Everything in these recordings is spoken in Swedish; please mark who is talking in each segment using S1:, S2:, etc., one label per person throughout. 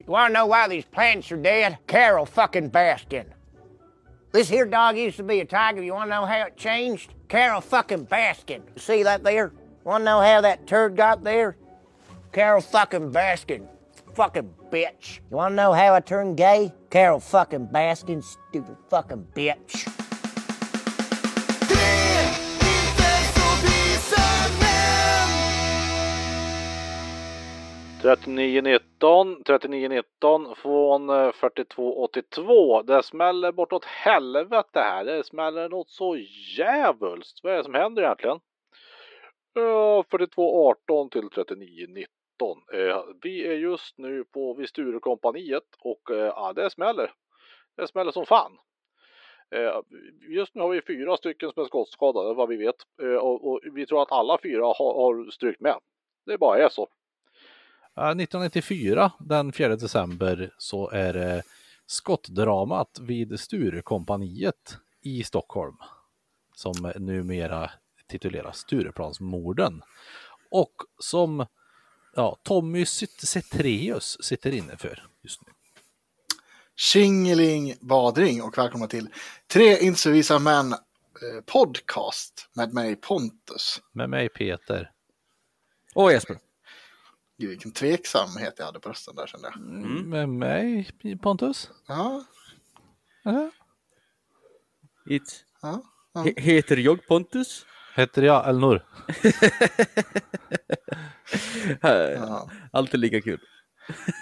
S1: You wanna know why these plants are dead? Carol fucking Baskin. This here dog used to be a tiger. You wanna know how it changed? Carol fucking Baskin. See that there? Wanna know how that turd got there? Carol fucking Baskin. Fucking bitch. You wanna know how I turned gay? Carol fucking Baskin, stupid fucking bitch.
S2: Hej
S3: 3919 3919 från eh, 4282. Det smäller bortåt helvete här. Det smäller något så djävulskt. Vad är det som händer egentligen? Ja, 4218 till 3919. Eh, vi är just nu på vid Sturecompagniet och eh, ja, det smäller. Det smäller som fan. Eh, Just nu har vi fyra stycken som är skottskadade vad vi vet Eh, och, och vi tror att alla fyra har, har strykt med. Det bara är så. Eh, 1994, den 4 december, så är det skottdramat vid Sturecompagniet i Stockholm. Som numera tituleras Stureplansmorden. Och som ja, Tommy Cyt- Zetreus sitter inne för just nu.
S4: Tjingeling badring och välkomna till Tre inte så visa män eh, podcast med mig Pontus.
S3: Med mig Peter.
S5: Och Jesper.
S4: Gud, vilken tveksamhet jag hade på rösten där kände jag.
S3: Med mig Pontus.
S4: Ja,
S3: Ja.
S5: It.
S4: ja.
S5: He heter jag Pontus?
S3: Heter jag Elnor?
S4: ja.
S5: Alltid lika kul.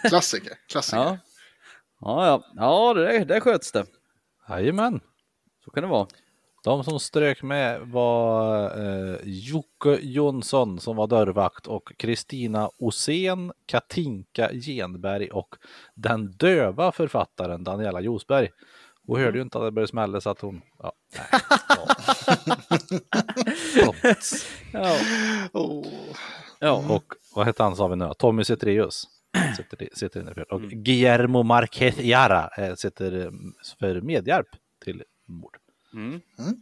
S4: Klassiker, klassiker.
S5: Ja, ja, ja. ja det, där, där sköts det.
S3: Jajamän.
S5: Så kan det vara.
S3: De som strök med var eh, Jocke Jonsson som var dörrvakt och Kristina Osén, Katinka Genberg och den döva författaren Daniela Josberg. Hon hörde ju inte att det började smälla så att hon... Ja, nej, ja.
S5: Ja.
S4: Åh.
S5: ja.
S3: och vad hette han sa vi nu? Tommy Zetreus sitter, sitter inne för. Och Guillermo Marquez Jara eh, sitter eh, för medhjälp till mord.
S5: Mm.
S4: Mm.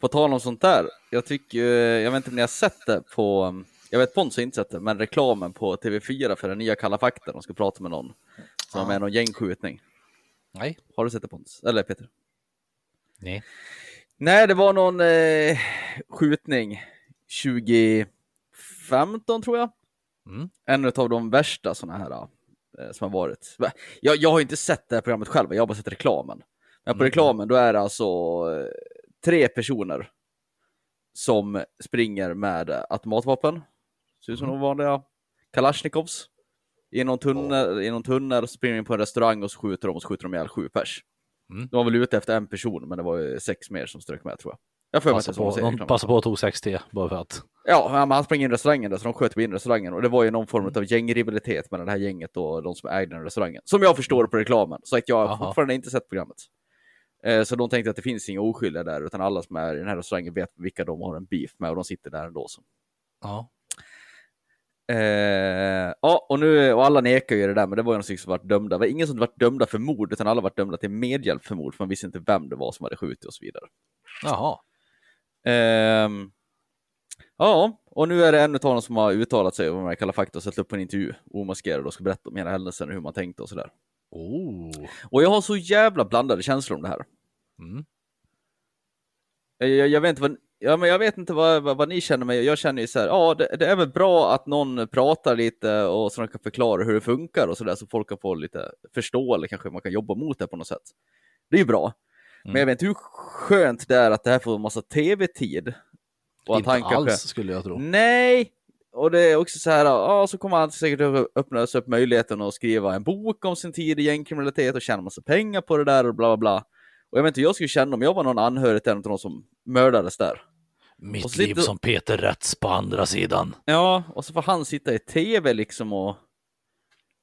S5: På tal om sånt där. Jag tycker, eh, jag vet inte om ni har sett det på, um, jag vet Pontus har inte sett det, men reklamen på TV4 för den nya Kalla fakta. De ska prata med någon som
S4: Ja.
S5: är någon gängskjutning.
S3: Nej.
S5: Har du sett det Pontus? Eller Peter?
S3: Nej.
S5: Nej, det var någon eh, skjutning 2015 tror jag.
S3: Mm.
S5: En av de värsta sådana här eh, som har varit. Va- Jag, jag har inte sett det här programmet själv, jag har bara sett reklamen. Men på
S3: Mm.
S5: reklamen då är det alltså eh, tre personer som springer med eh, automatvapen. Ser ut som
S3: Mm.
S5: de vanliga Kalashnikovs. I någon tunnel, i någon tunnel springer in på en restaurang och så skjuter de och så skjuter de ihjäl sju pers.
S3: Mm.
S5: De var väl ute efter en person, men det var ju sex mer som strök med tror jag. Jag får mig att det
S3: Passa
S5: är så de
S3: på,
S5: säger i
S3: någon
S5: reklamen.
S3: passa på att tog 6T bara för att.
S5: Ja, ja, men han sprang in i restaurangen där, så de sköt in i restaurangen. Och det var ju någon form av gängrivalitet mellan det här gänget och de som ägde den restaurangen. Som jag förstår på reklamen. Så att jag har
S3: Aha.
S5: fortfarande inte sett programmet. Eh, så de tänkte att det finns inga oskyldiga där, utan alla som är i den här restaurangen vet vilka de har en beef med och de sitter där ändå. Så.
S3: Ja.
S5: Eh, ja, och, nu, och alla nekar ju det där, men det var ju någon som varit dömda. Det var ingen som varit dömda för mord, utan alla varit dömda till medhjälp för mord, för man visste inte vem det var som hade skjutit och så vidare.
S3: Jaha.
S5: Ehm, ja, och nu är det en av dem som har uttalat sig om de här Kalla fakta och satt upp en intervju omaskerad och ska berätta om hela händelsen och hur man tänkte och sådär.
S3: Oh.
S5: Och jag har så jävla blandade känslor om det här.
S3: Mm.
S5: Jag, jag, jag vet inte vad, ja, men jag vet inte vad, vad, vad ni känner, men jag känner ju så här, ja, det, det är väl bra att någon pratar lite och så de kan förklara hur det funkar och sådär så folk kan få lite förstå eller kanske man kan jobba mot det på något sätt. Det är ju bra. Men
S3: Mm.
S5: jag vet inte hur skönt det är att det här får en massa tv-tid. Och att
S3: Inte
S5: han
S3: alls
S5: kanske... Mm.
S3: skulle jag tro.
S5: Nej! Och det är också så här, ja, så kommer han säkert att öppna sig upp möjligheten att skriva en bok om sin tid i gängkriminalitet och tjäna massa pengar på det där och bla bla bla. Och jag vet inte hur jag skulle känna om jag var någon anhörig till en av de som mördades där. och
S3: Mitt
S5: så
S3: liv
S5: sitter-
S3: som Peter Rätts på andra sidan.
S5: Ja, och så får han sitta i tv liksom och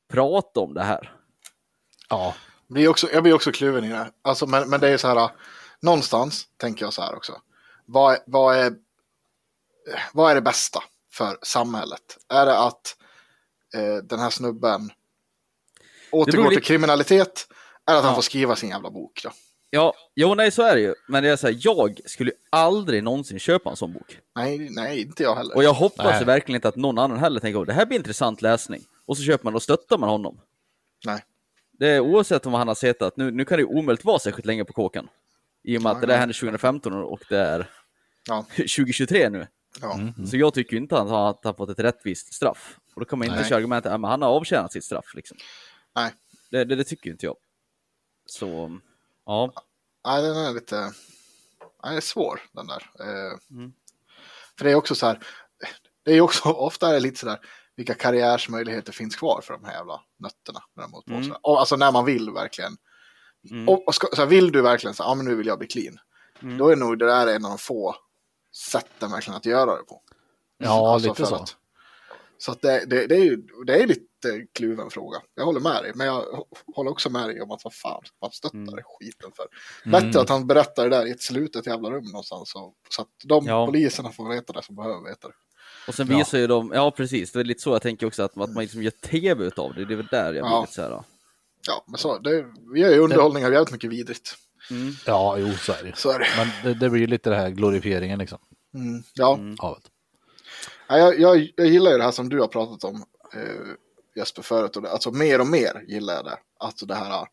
S5: prata om det här.
S3: Ja.
S4: Blir också, jag blir också kluven i det. Alltså, men, men det är så här, någonstans tänker jag så här också. Vad, är- vad, är, vad är det bästa för samhället? Är det att eh, den här snubben återgår
S5: beror
S4: till
S5: lite-
S4: kriminalitet? Eller att han
S5: Ja.
S4: får skriva sin jävla bok då?
S5: Ja, jo nej så är det ju. Men det är så här, jag skulle ju aldrig någonsin köpa en sån bok.
S4: Nej, nej, inte jag heller.
S5: Och jag hoppas
S3: Nej.
S5: ju verkligen inte att någon annan heller tänker, "Åh, det här blir intressant läsning. Och så köper man och stöttar man honom.
S4: Nej.
S5: Det är oavsett om han har sett att nu, nu kan det ju omöjligt vara särskilt länge på kåken. I och med att det där hände 2015 och det är
S4: Ja.
S5: 2023 nu.
S4: Ja.
S5: Så jag tycker ju inte att han har att han fått ett rättvist straff. Och då kan man inte
S4: Nej.
S5: köra argumentet att han har avtjänat sitt straff. Liksom.
S4: Nej.
S5: Det, det, det tycker ju inte jag. Så, ja.
S4: Nej, den är lite... Nej, den är svår den där. Eh,
S5: Mm.
S4: För det är också så här, det är också ofta är det lite så där, vilka karriärsmöjligheter finns kvar för de här jävla nötterna när de har hållit på
S5: Mm.
S4: sådär. Och, Alltså när man vill verkligen.
S5: Mm.
S4: Och, och ska, så här, vill du verkligen så här, ja men nu vill jag bli clean.
S5: Mm.
S4: Då är nog det där en av de få sätten verkligen att göra det på.
S3: Ja,
S4: Alltså,
S3: lite
S4: för
S3: så.
S4: att- så att det, det, det, är ju, det är lite kluven fråga. Jag håller med dig, men jag hå- håller också med dig om att vad fan ska man stötta
S5: Mm.
S4: det skiten för?
S3: Mm.
S4: Bättre att han berättar det där i ett slutet jävla rum någonstans. Så, så att de
S5: Ja.
S4: poliserna får veta det som behöver veta det.
S5: Och sen
S3: Ja.
S5: visar ju de, ja precis, det är lite så jag tänker också att, att man liksom gör tv utav det. Det är väl där jag blir
S4: Ja.
S5: lite så här.
S4: Ja, men så, det, vi gör ju underhållning av jävligt mycket vidrigt.
S5: Mm.
S3: Ja, jo, så är det.
S4: Så är det.
S3: Men det, det blir ju lite det här glorifieringen liksom.
S4: Mm, ja,
S3: Av det.
S4: Nej, jag, jag, jag gillar ju det här som du har pratat om eh, Jesper förut. Och det, alltså mer och mer gillar jag det. Alltså det här, ah,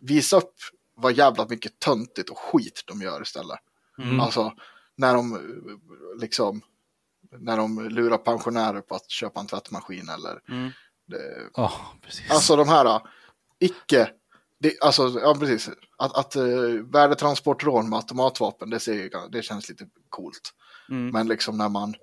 S4: visa upp vad jävla mycket töntigt och skit de gör istället. Alltså när de eh, liksom, när de lurar pensionärer på att köpa en tvättmaskin eller eh,
S5: Mm.
S4: det,
S3: Ja, precis.
S4: Alltså de här ah, icke, det, alltså ja precis, att, att uh, värdetransportrån med automatvapen det, ser, ju gan- det känns lite coolt.
S5: Mm.
S4: Men liksom när man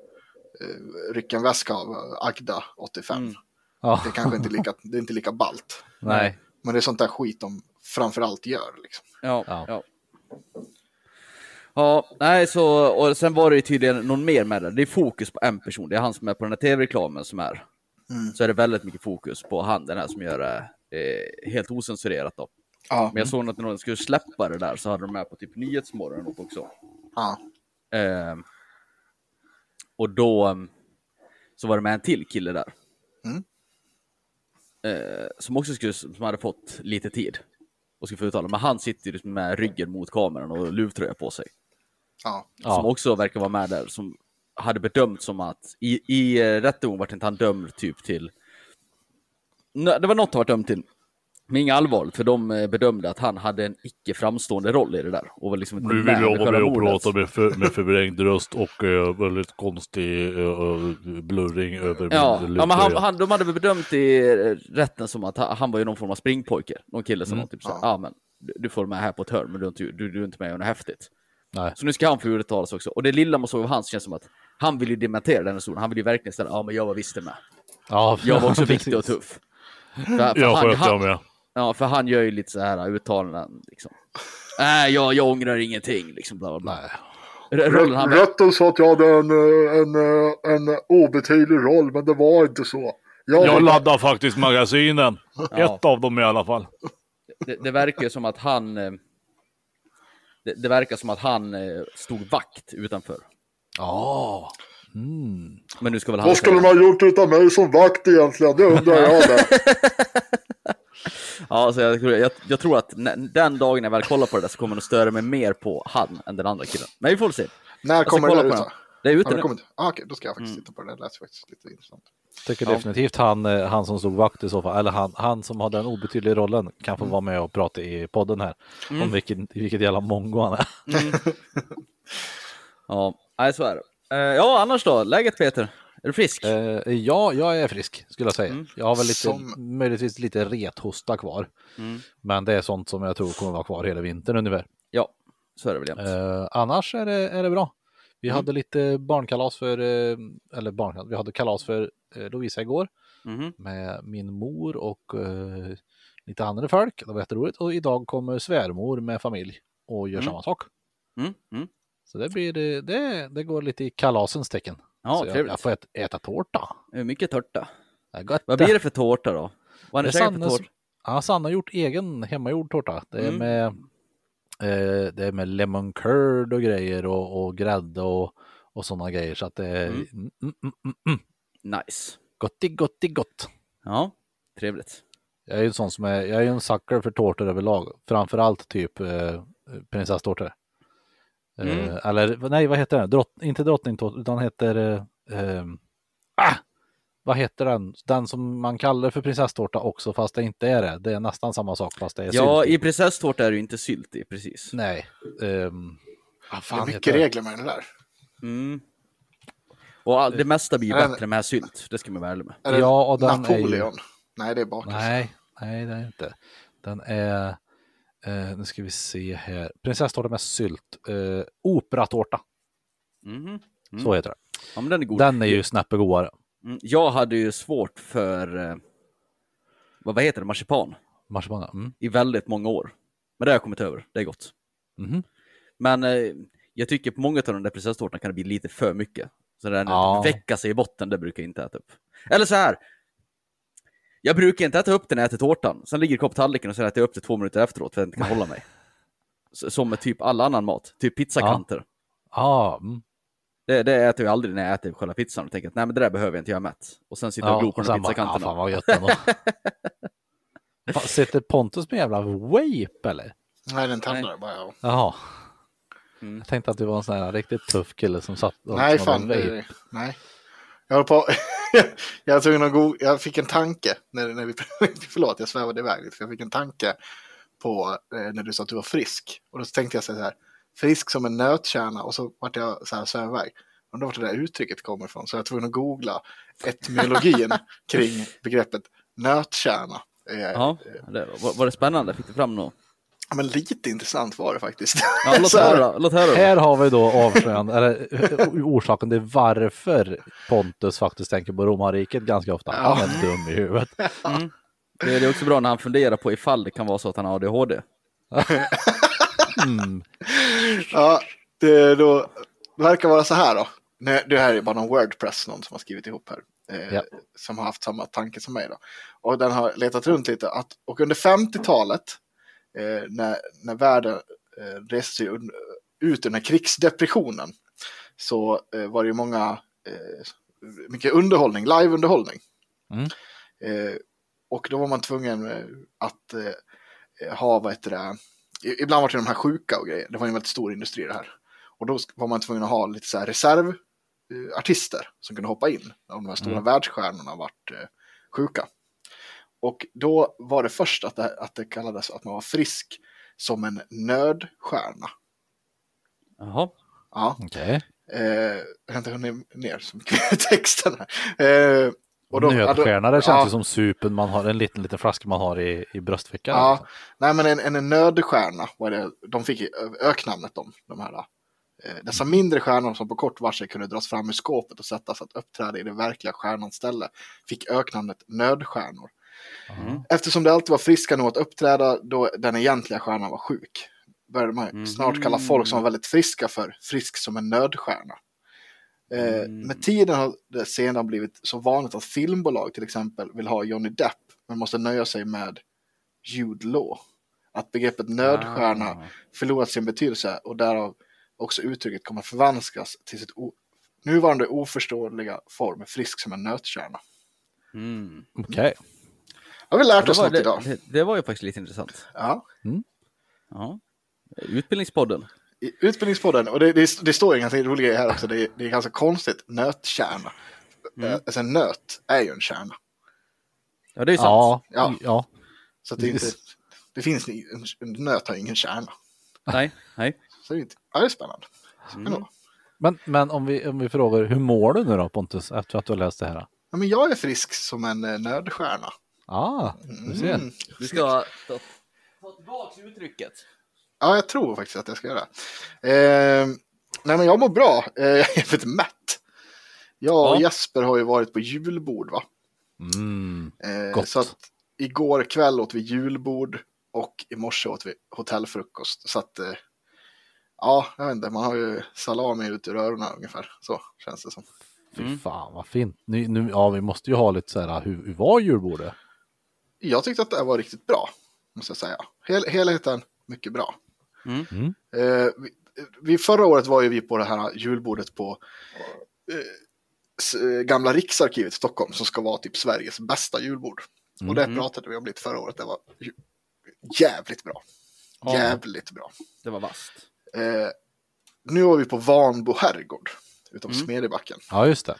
S4: eh, rycker en väska av eh, Agda 85,
S5: Mm.
S3: ja.
S4: det kanske inte är lika, det är inte lika ballt.
S3: Nej.
S4: Men det är sånt där skit de framförallt gör. Liksom.
S5: Ja, ja.
S3: Ja.
S5: ja. nej, så, och sen var det ju tydligen någon mer med det. Det är fokus på en person. Det är han som är på den här tv-reklamen som är.
S4: Mm.
S5: Så är det väldigt mycket fokus på han, den här som gör det eh, helt osensurerat då.
S4: Ja,
S5: Men jag såg att när de skulle släppa det där så hade de med på typ Nyhetsmorgon och också.
S4: ja,
S5: Ehm, och då ehm, så var det med en till kille där.
S4: Mm.
S5: Eh, som också skulle, som hade fått lite tid och skulle få uttala. Men han sitter ju liksom med ryggen mot kameran och luvtröja på sig.
S4: ja,
S5: Som
S3: Ja.
S5: också verkar vara med där. Som hade bedömt som att i, i eh, rättegång vart inte han dömd typ till. Nå- det var något han vart dömd till. Men inget allvarligt för de eh, bedömde att han hade en icke framstående roll i det där. Och var liksom inte
S6: Nu
S5: med
S6: vill
S5: vid
S6: jag vara
S5: själva
S6: med och
S5: mordet.
S6: prata med, för, med förvrängd röst och eh, väldigt konstig uh, blurring över
S5: Ja,
S6: min
S5: ja men han,
S6: lufttröja.
S5: han, de hade väl bedömt i eh, rätten som att han, han var ju någon form av springpojke. Någon kille som var typ såhär, ja ah, men du, du får med här på ett hörn men du är inte, du, du är inte med och något häftigt.
S3: Nej.
S5: Så nu ska han få uttalas också. Och det lilla man såg av hans känns som att han vill ju dementera den historien. Han vill ju verkligen ställa, ja ah, men jag var visst det med.
S3: Ja,
S5: Jag var också viktig och
S3: precis.
S5: tuff. För, för
S6: Jag
S5: han,
S6: sköt jag
S5: han,
S6: med.
S5: ja, för han gör ju lite så här uttalanden liksom. Nej, jag, jag ångrar ingenting liksom. Bla, bla, bla.
S3: Nej.
S5: R- Rollen han
S4: Rätten sa att jag hade en, eh, en, en obetydlig roll, men det var inte så.
S6: Jag laddar faktiskt magasinen. Ett av dem i alla fall.
S5: det, det verkar ju som att han... eh, Det, det verkar som att han eh, stod vakt utanför.
S3: Ja. Mm.
S5: Men nu ska väl han...
S4: Vad skulle de
S5: säga-
S4: ha gjort utan mig som vakt egentligen? Det undrar jag. Där.
S5: Ja, så jag, tror- jag, jag tror att nä- den dagen jag väl kollar på det där så kommer jag nog störa mig mer på han än den andra killen. Men vi får väl se.
S4: När
S5: Jag ska
S4: kommer
S5: kolla
S4: det
S5: på
S4: ut?
S5: den. Mm.
S4: då?
S5: Det är
S4: Har
S5: ute
S4: det
S5: nu.
S4: kommit? Ah, Okej, då ska jag faktiskt titta på det. Det lät faktiskt lite intressant.
S3: Tycker
S5: Ja.
S3: definitivt han, eh, han som stod vakt i så fall, eller han, han som hade den obetydliga rollen kan få vara med och prata i podden här. Om vilken, vilket jävla mongo han är.
S5: Ja, nej, så är det. Eh, Ja, annars då? Läget Peter? Är du frisk?
S3: Eh, ja, jag är frisk skulle jag säga. Jag har väl lite,
S4: Som-
S3: möjligtvis lite rethosta kvar. Men det är sånt som jag tror kommer vara kvar hela vintern ungefär.
S5: Ja, så är det väl jämt.
S3: Eh, annars är det, är det bra. Vi hade lite barnkalas för, eh, eller barnkalas, vi hade kalas för eh, Lovisa igår
S5: Mhm.
S3: med min mor och eh, lite andra folk. Det var jätteroligt. Och idag kommer svärmor med familj och gör
S5: Mm.
S3: samma sak.
S5: Mm. Mm.
S3: Så det, blir, eh, det, det går lite i kalasens tecken.
S5: Ja,
S3: Så jag,
S5: trevligt.
S3: jag får äta, äta tårta.
S5: Det är Mycket tårta.
S3: Det är gott.
S5: Vad blir det för tårta då? Vad
S3: Det
S5: är
S3: är
S5: det käkat för
S3: Sannes,
S5: tårta?
S3: ja, Sanna har gjort egen hemmagjord tårta. Det är,
S5: Mm.
S3: med, eh, det är med lemon curd och grejer och, och grädde och, och sådana grejer. Så att det är
S5: Mm.
S3: mm. Mm, mm, mm.
S5: Nice.
S3: gotti, gotti, gott.
S5: Ja, trevligt.
S3: Jag är ju en sån som är, jag är ju en sucker för tårtor överlag. Framförallt typ eh, prinsesstårtor. Eh,
S5: Mm.
S3: eller nej, vad heter den? Drott, inte drottningtårta, utan heter... Eh, eh, ehm, ah! vad heter den, den som man kallar för prinsesstårta också fast det inte är det. Det är nästan samma sak fast det är
S5: Ja,
S3: sylt i.
S5: i prinsesstårta är det ju inte sylt i, precis.
S3: Nej. ehm, vad
S4: Det är
S3: fan heter
S4: mycket
S3: det?
S4: regler med den där.
S5: Mm. Och all, det mesta blir ju
S4: Nej,
S5: bättre med sylt, det ska man vara ärlig med.
S4: Är det
S3: Ja, och den är ju-
S4: Napoleon? Nej, det är bakelse.
S3: Nej, nej det är inte. Den är, eh, nu ska vi se här, prinsesstårta med sylt, eh, operatårta,
S5: Mhm.
S3: så heter det.
S5: Ja, men den är god.
S3: Den är ju snäppet godare.
S5: Mm, Jag hade ju svårt för, eh, vad, vad heter det, marsipan
S3: Marsipan, mm.
S5: i väldigt många år. Men det har jag kommit över, det är gott.
S3: Mhm.
S5: Men eh, jag tycker på många av de där prinsesstårtorna kan det bli lite för mycket. Så den
S3: Ja.
S5: väcka sig i botten, det brukar jag inte äta upp. Eller så här. Jag brukar inte äta upp den när jag äter tårtan. Sen ligger det kvar på tallriken och sen äter jag upp det två minuter efteråt för att jag inte kan hålla mig. S- Som med typ all annan mat, typ pizzakanter.
S3: Ja, mm.
S5: Det, det äter jag aldrig när jag äter själva pizzan och tänker att nej men det där behöver jag inte, jag är mätt. Och sen sitter jag och glor på
S3: och
S5: den
S3: sen bara,
S5: pizzakanten.
S3: Ja, fan vad gött ändå. Fan, Sitter Pontus med jävla vape eller?
S4: Nej, den tänder bara. Ja.
S3: Jaha.
S5: Mm.
S3: Jag tänkte att du var en sån här riktigt tuff kille som satt och
S4: Nej,
S3: som
S4: fan.
S3: hade
S4: Det,
S3: en vape.
S4: det, nej. Jag höll på. jag, var tvungen att go... jag fick en tanke. När, när vi... Förlåt, jag svävade iväg lite. För jag fick en tanke på eh, när du sa att du var frisk. Och då tänkte jag så här. Frisk som en nötkärna. Och så vart jag så här svävade iväg. Undrar vart det där uttrycket kommer ifrån. Så jag var tvungen att googla etymologin kring begreppet nötkärna. Eh,
S5: Ja, det, var, var det spännande? Fick du fram något?
S4: Men lite intressant var det faktiskt.
S5: Ja, låt
S4: Så här-
S5: höra, låt höra.
S3: Här har vi då avslöjande, eller eh, orsaken till varför Pontus faktiskt tänker på romarriket ganska ofta. Han är dum i huvudet.
S5: Det är också bra när han funderar på ifall det kan vara så att han har ADHD.
S3: Mm.
S4: Ja, det, då, det verkar vara så här då. Nej, Det här är bara någon Wordpress, någon som har skrivit ihop här. Eh,
S3: Ja.
S4: Som har haft samma tanke som mig då. Och den har letat runt lite. Att, och under 50-talet, eh, när, när världen eh, reste sig un, ut ur den här krigsdepressionen, så eh, var det ju många, eh, mycket underhållning, liveunderhållning.
S3: Mm.
S4: Eh, och då var man tvungen eh, att eh, ha, vad heter det, i- ibland var det de här sjuka och grejer. Det var ju en väldigt stor industri det här. Och då sk- var man tvungen att ha lite så här reservartister som kunde hoppa in. Om de här
S3: Mm.
S4: stora världsstjärnorna vart eh, sjuka. Och då var det först att det, att det kallades att man var frisk som en nödstjärna.
S5: Jaha.
S4: Ja.
S3: Okej.
S4: Eh, jag har inte hunnit ner så mycket i texten här. Eh, och då- alltså,
S3: Nödstjärna, det
S4: ja,
S3: känns ju som supen man har, en liten, liten flaska man har i, i bröstfickan.
S4: Ja, nej men en, en nödstjärna var det, de fick ju ö- öknamnet de, de här. Eh, dessa mindre stjärnor som på kort varsel kunde dras fram ur skåpet och sättas att uppträda i den verkliga stjärnans ställe fick öknamnet nödstjärnor. Eftersom det alltid var friska nog att uppträda då den egentliga stjärnan var sjuk började man snart kalla folk som var väldigt friska för frisk som en nödstjärna. Eh, Med tiden har det sedan blivit så vanligt att filmbolag till exempel vill ha Johnny Depp men måste nöja sig med Jude Law. Att begreppet nödstjärna förlorat sin betydelse och därav också uttrycket kommer förvanskas till sitt o- nuvarande oförståeliga form, frisk som en nötkärna.
S5: Mm.
S3: Okej.
S4: Har vi lärt
S5: Det,
S4: oss
S5: var,
S4: något
S5: det,
S4: idag?
S5: det, det var ju faktiskt lite intressant.
S4: Ja.
S5: Ja. Utbildningspodden.
S4: I Utbildningspodden, och det, det, det står ju en ganska rolig grej här också, det är, det är ganska konstigt, nötkärna.
S5: Mm.
S4: Eh, Alltså en nöt är ju en kärna.
S5: Ja, det är ju sant.
S3: Ja,
S4: Ja.
S3: ja.
S4: Så att det, är inte,
S3: Precis.
S4: det finns en, en nöt har ingen kärna.
S5: Nej, nej.
S4: Så det är, inte, ja, det är spännande.
S5: Mm.
S4: Spännande.
S3: Men, men om, vi, om vi frågar, hur mår du nu då Pontus efter att du har läst det här?
S4: Ja, men jag är frisk som en eh, nödstjärna.
S3: Ah, du ser.
S4: Mm.
S5: Du ska ta, ta tillbaka uttrycket.
S4: Ja, jag tror faktiskt att jag ska göra det. Eh, nej, men jag mår bra. Eh, jag är väldigt mätt. Jag och
S5: Ja.
S4: Jesper har ju varit på julbord, va?
S3: Mm.
S4: Eh,
S3: Gott.
S4: Så att igår kväll åt vi julbord och i morse åt vi hotellfrukost. Så att, eh, ja, jag vet inte, man har ju salami ut ur öronen ungefär. Så känns det som.
S3: Fy
S5: Mm.
S3: fan vad fint. Nu, nu, ja, vi måste ju ha lite så här, hur, hur var julbordet?
S4: Jag tyckte att det här var riktigt bra, måste jag säga. Hel helheten, mycket bra.
S5: Mm.
S3: Mm.
S4: Eh, vi, vi, förra året var ju vi på det här julbordet på eh, s- eh, gamla Riksarkivet i Stockholm som ska vara typ Sveriges bästa julbord. Och
S3: Mm.
S4: det pratade vi om lite förra året, det var ju, jävligt bra.
S5: Ja.
S4: Jävligt bra.
S5: Det var vasst.
S4: Eh, nu var vi på Vanbo herrgård utanför Smedjebacken.
S3: Ja, just det.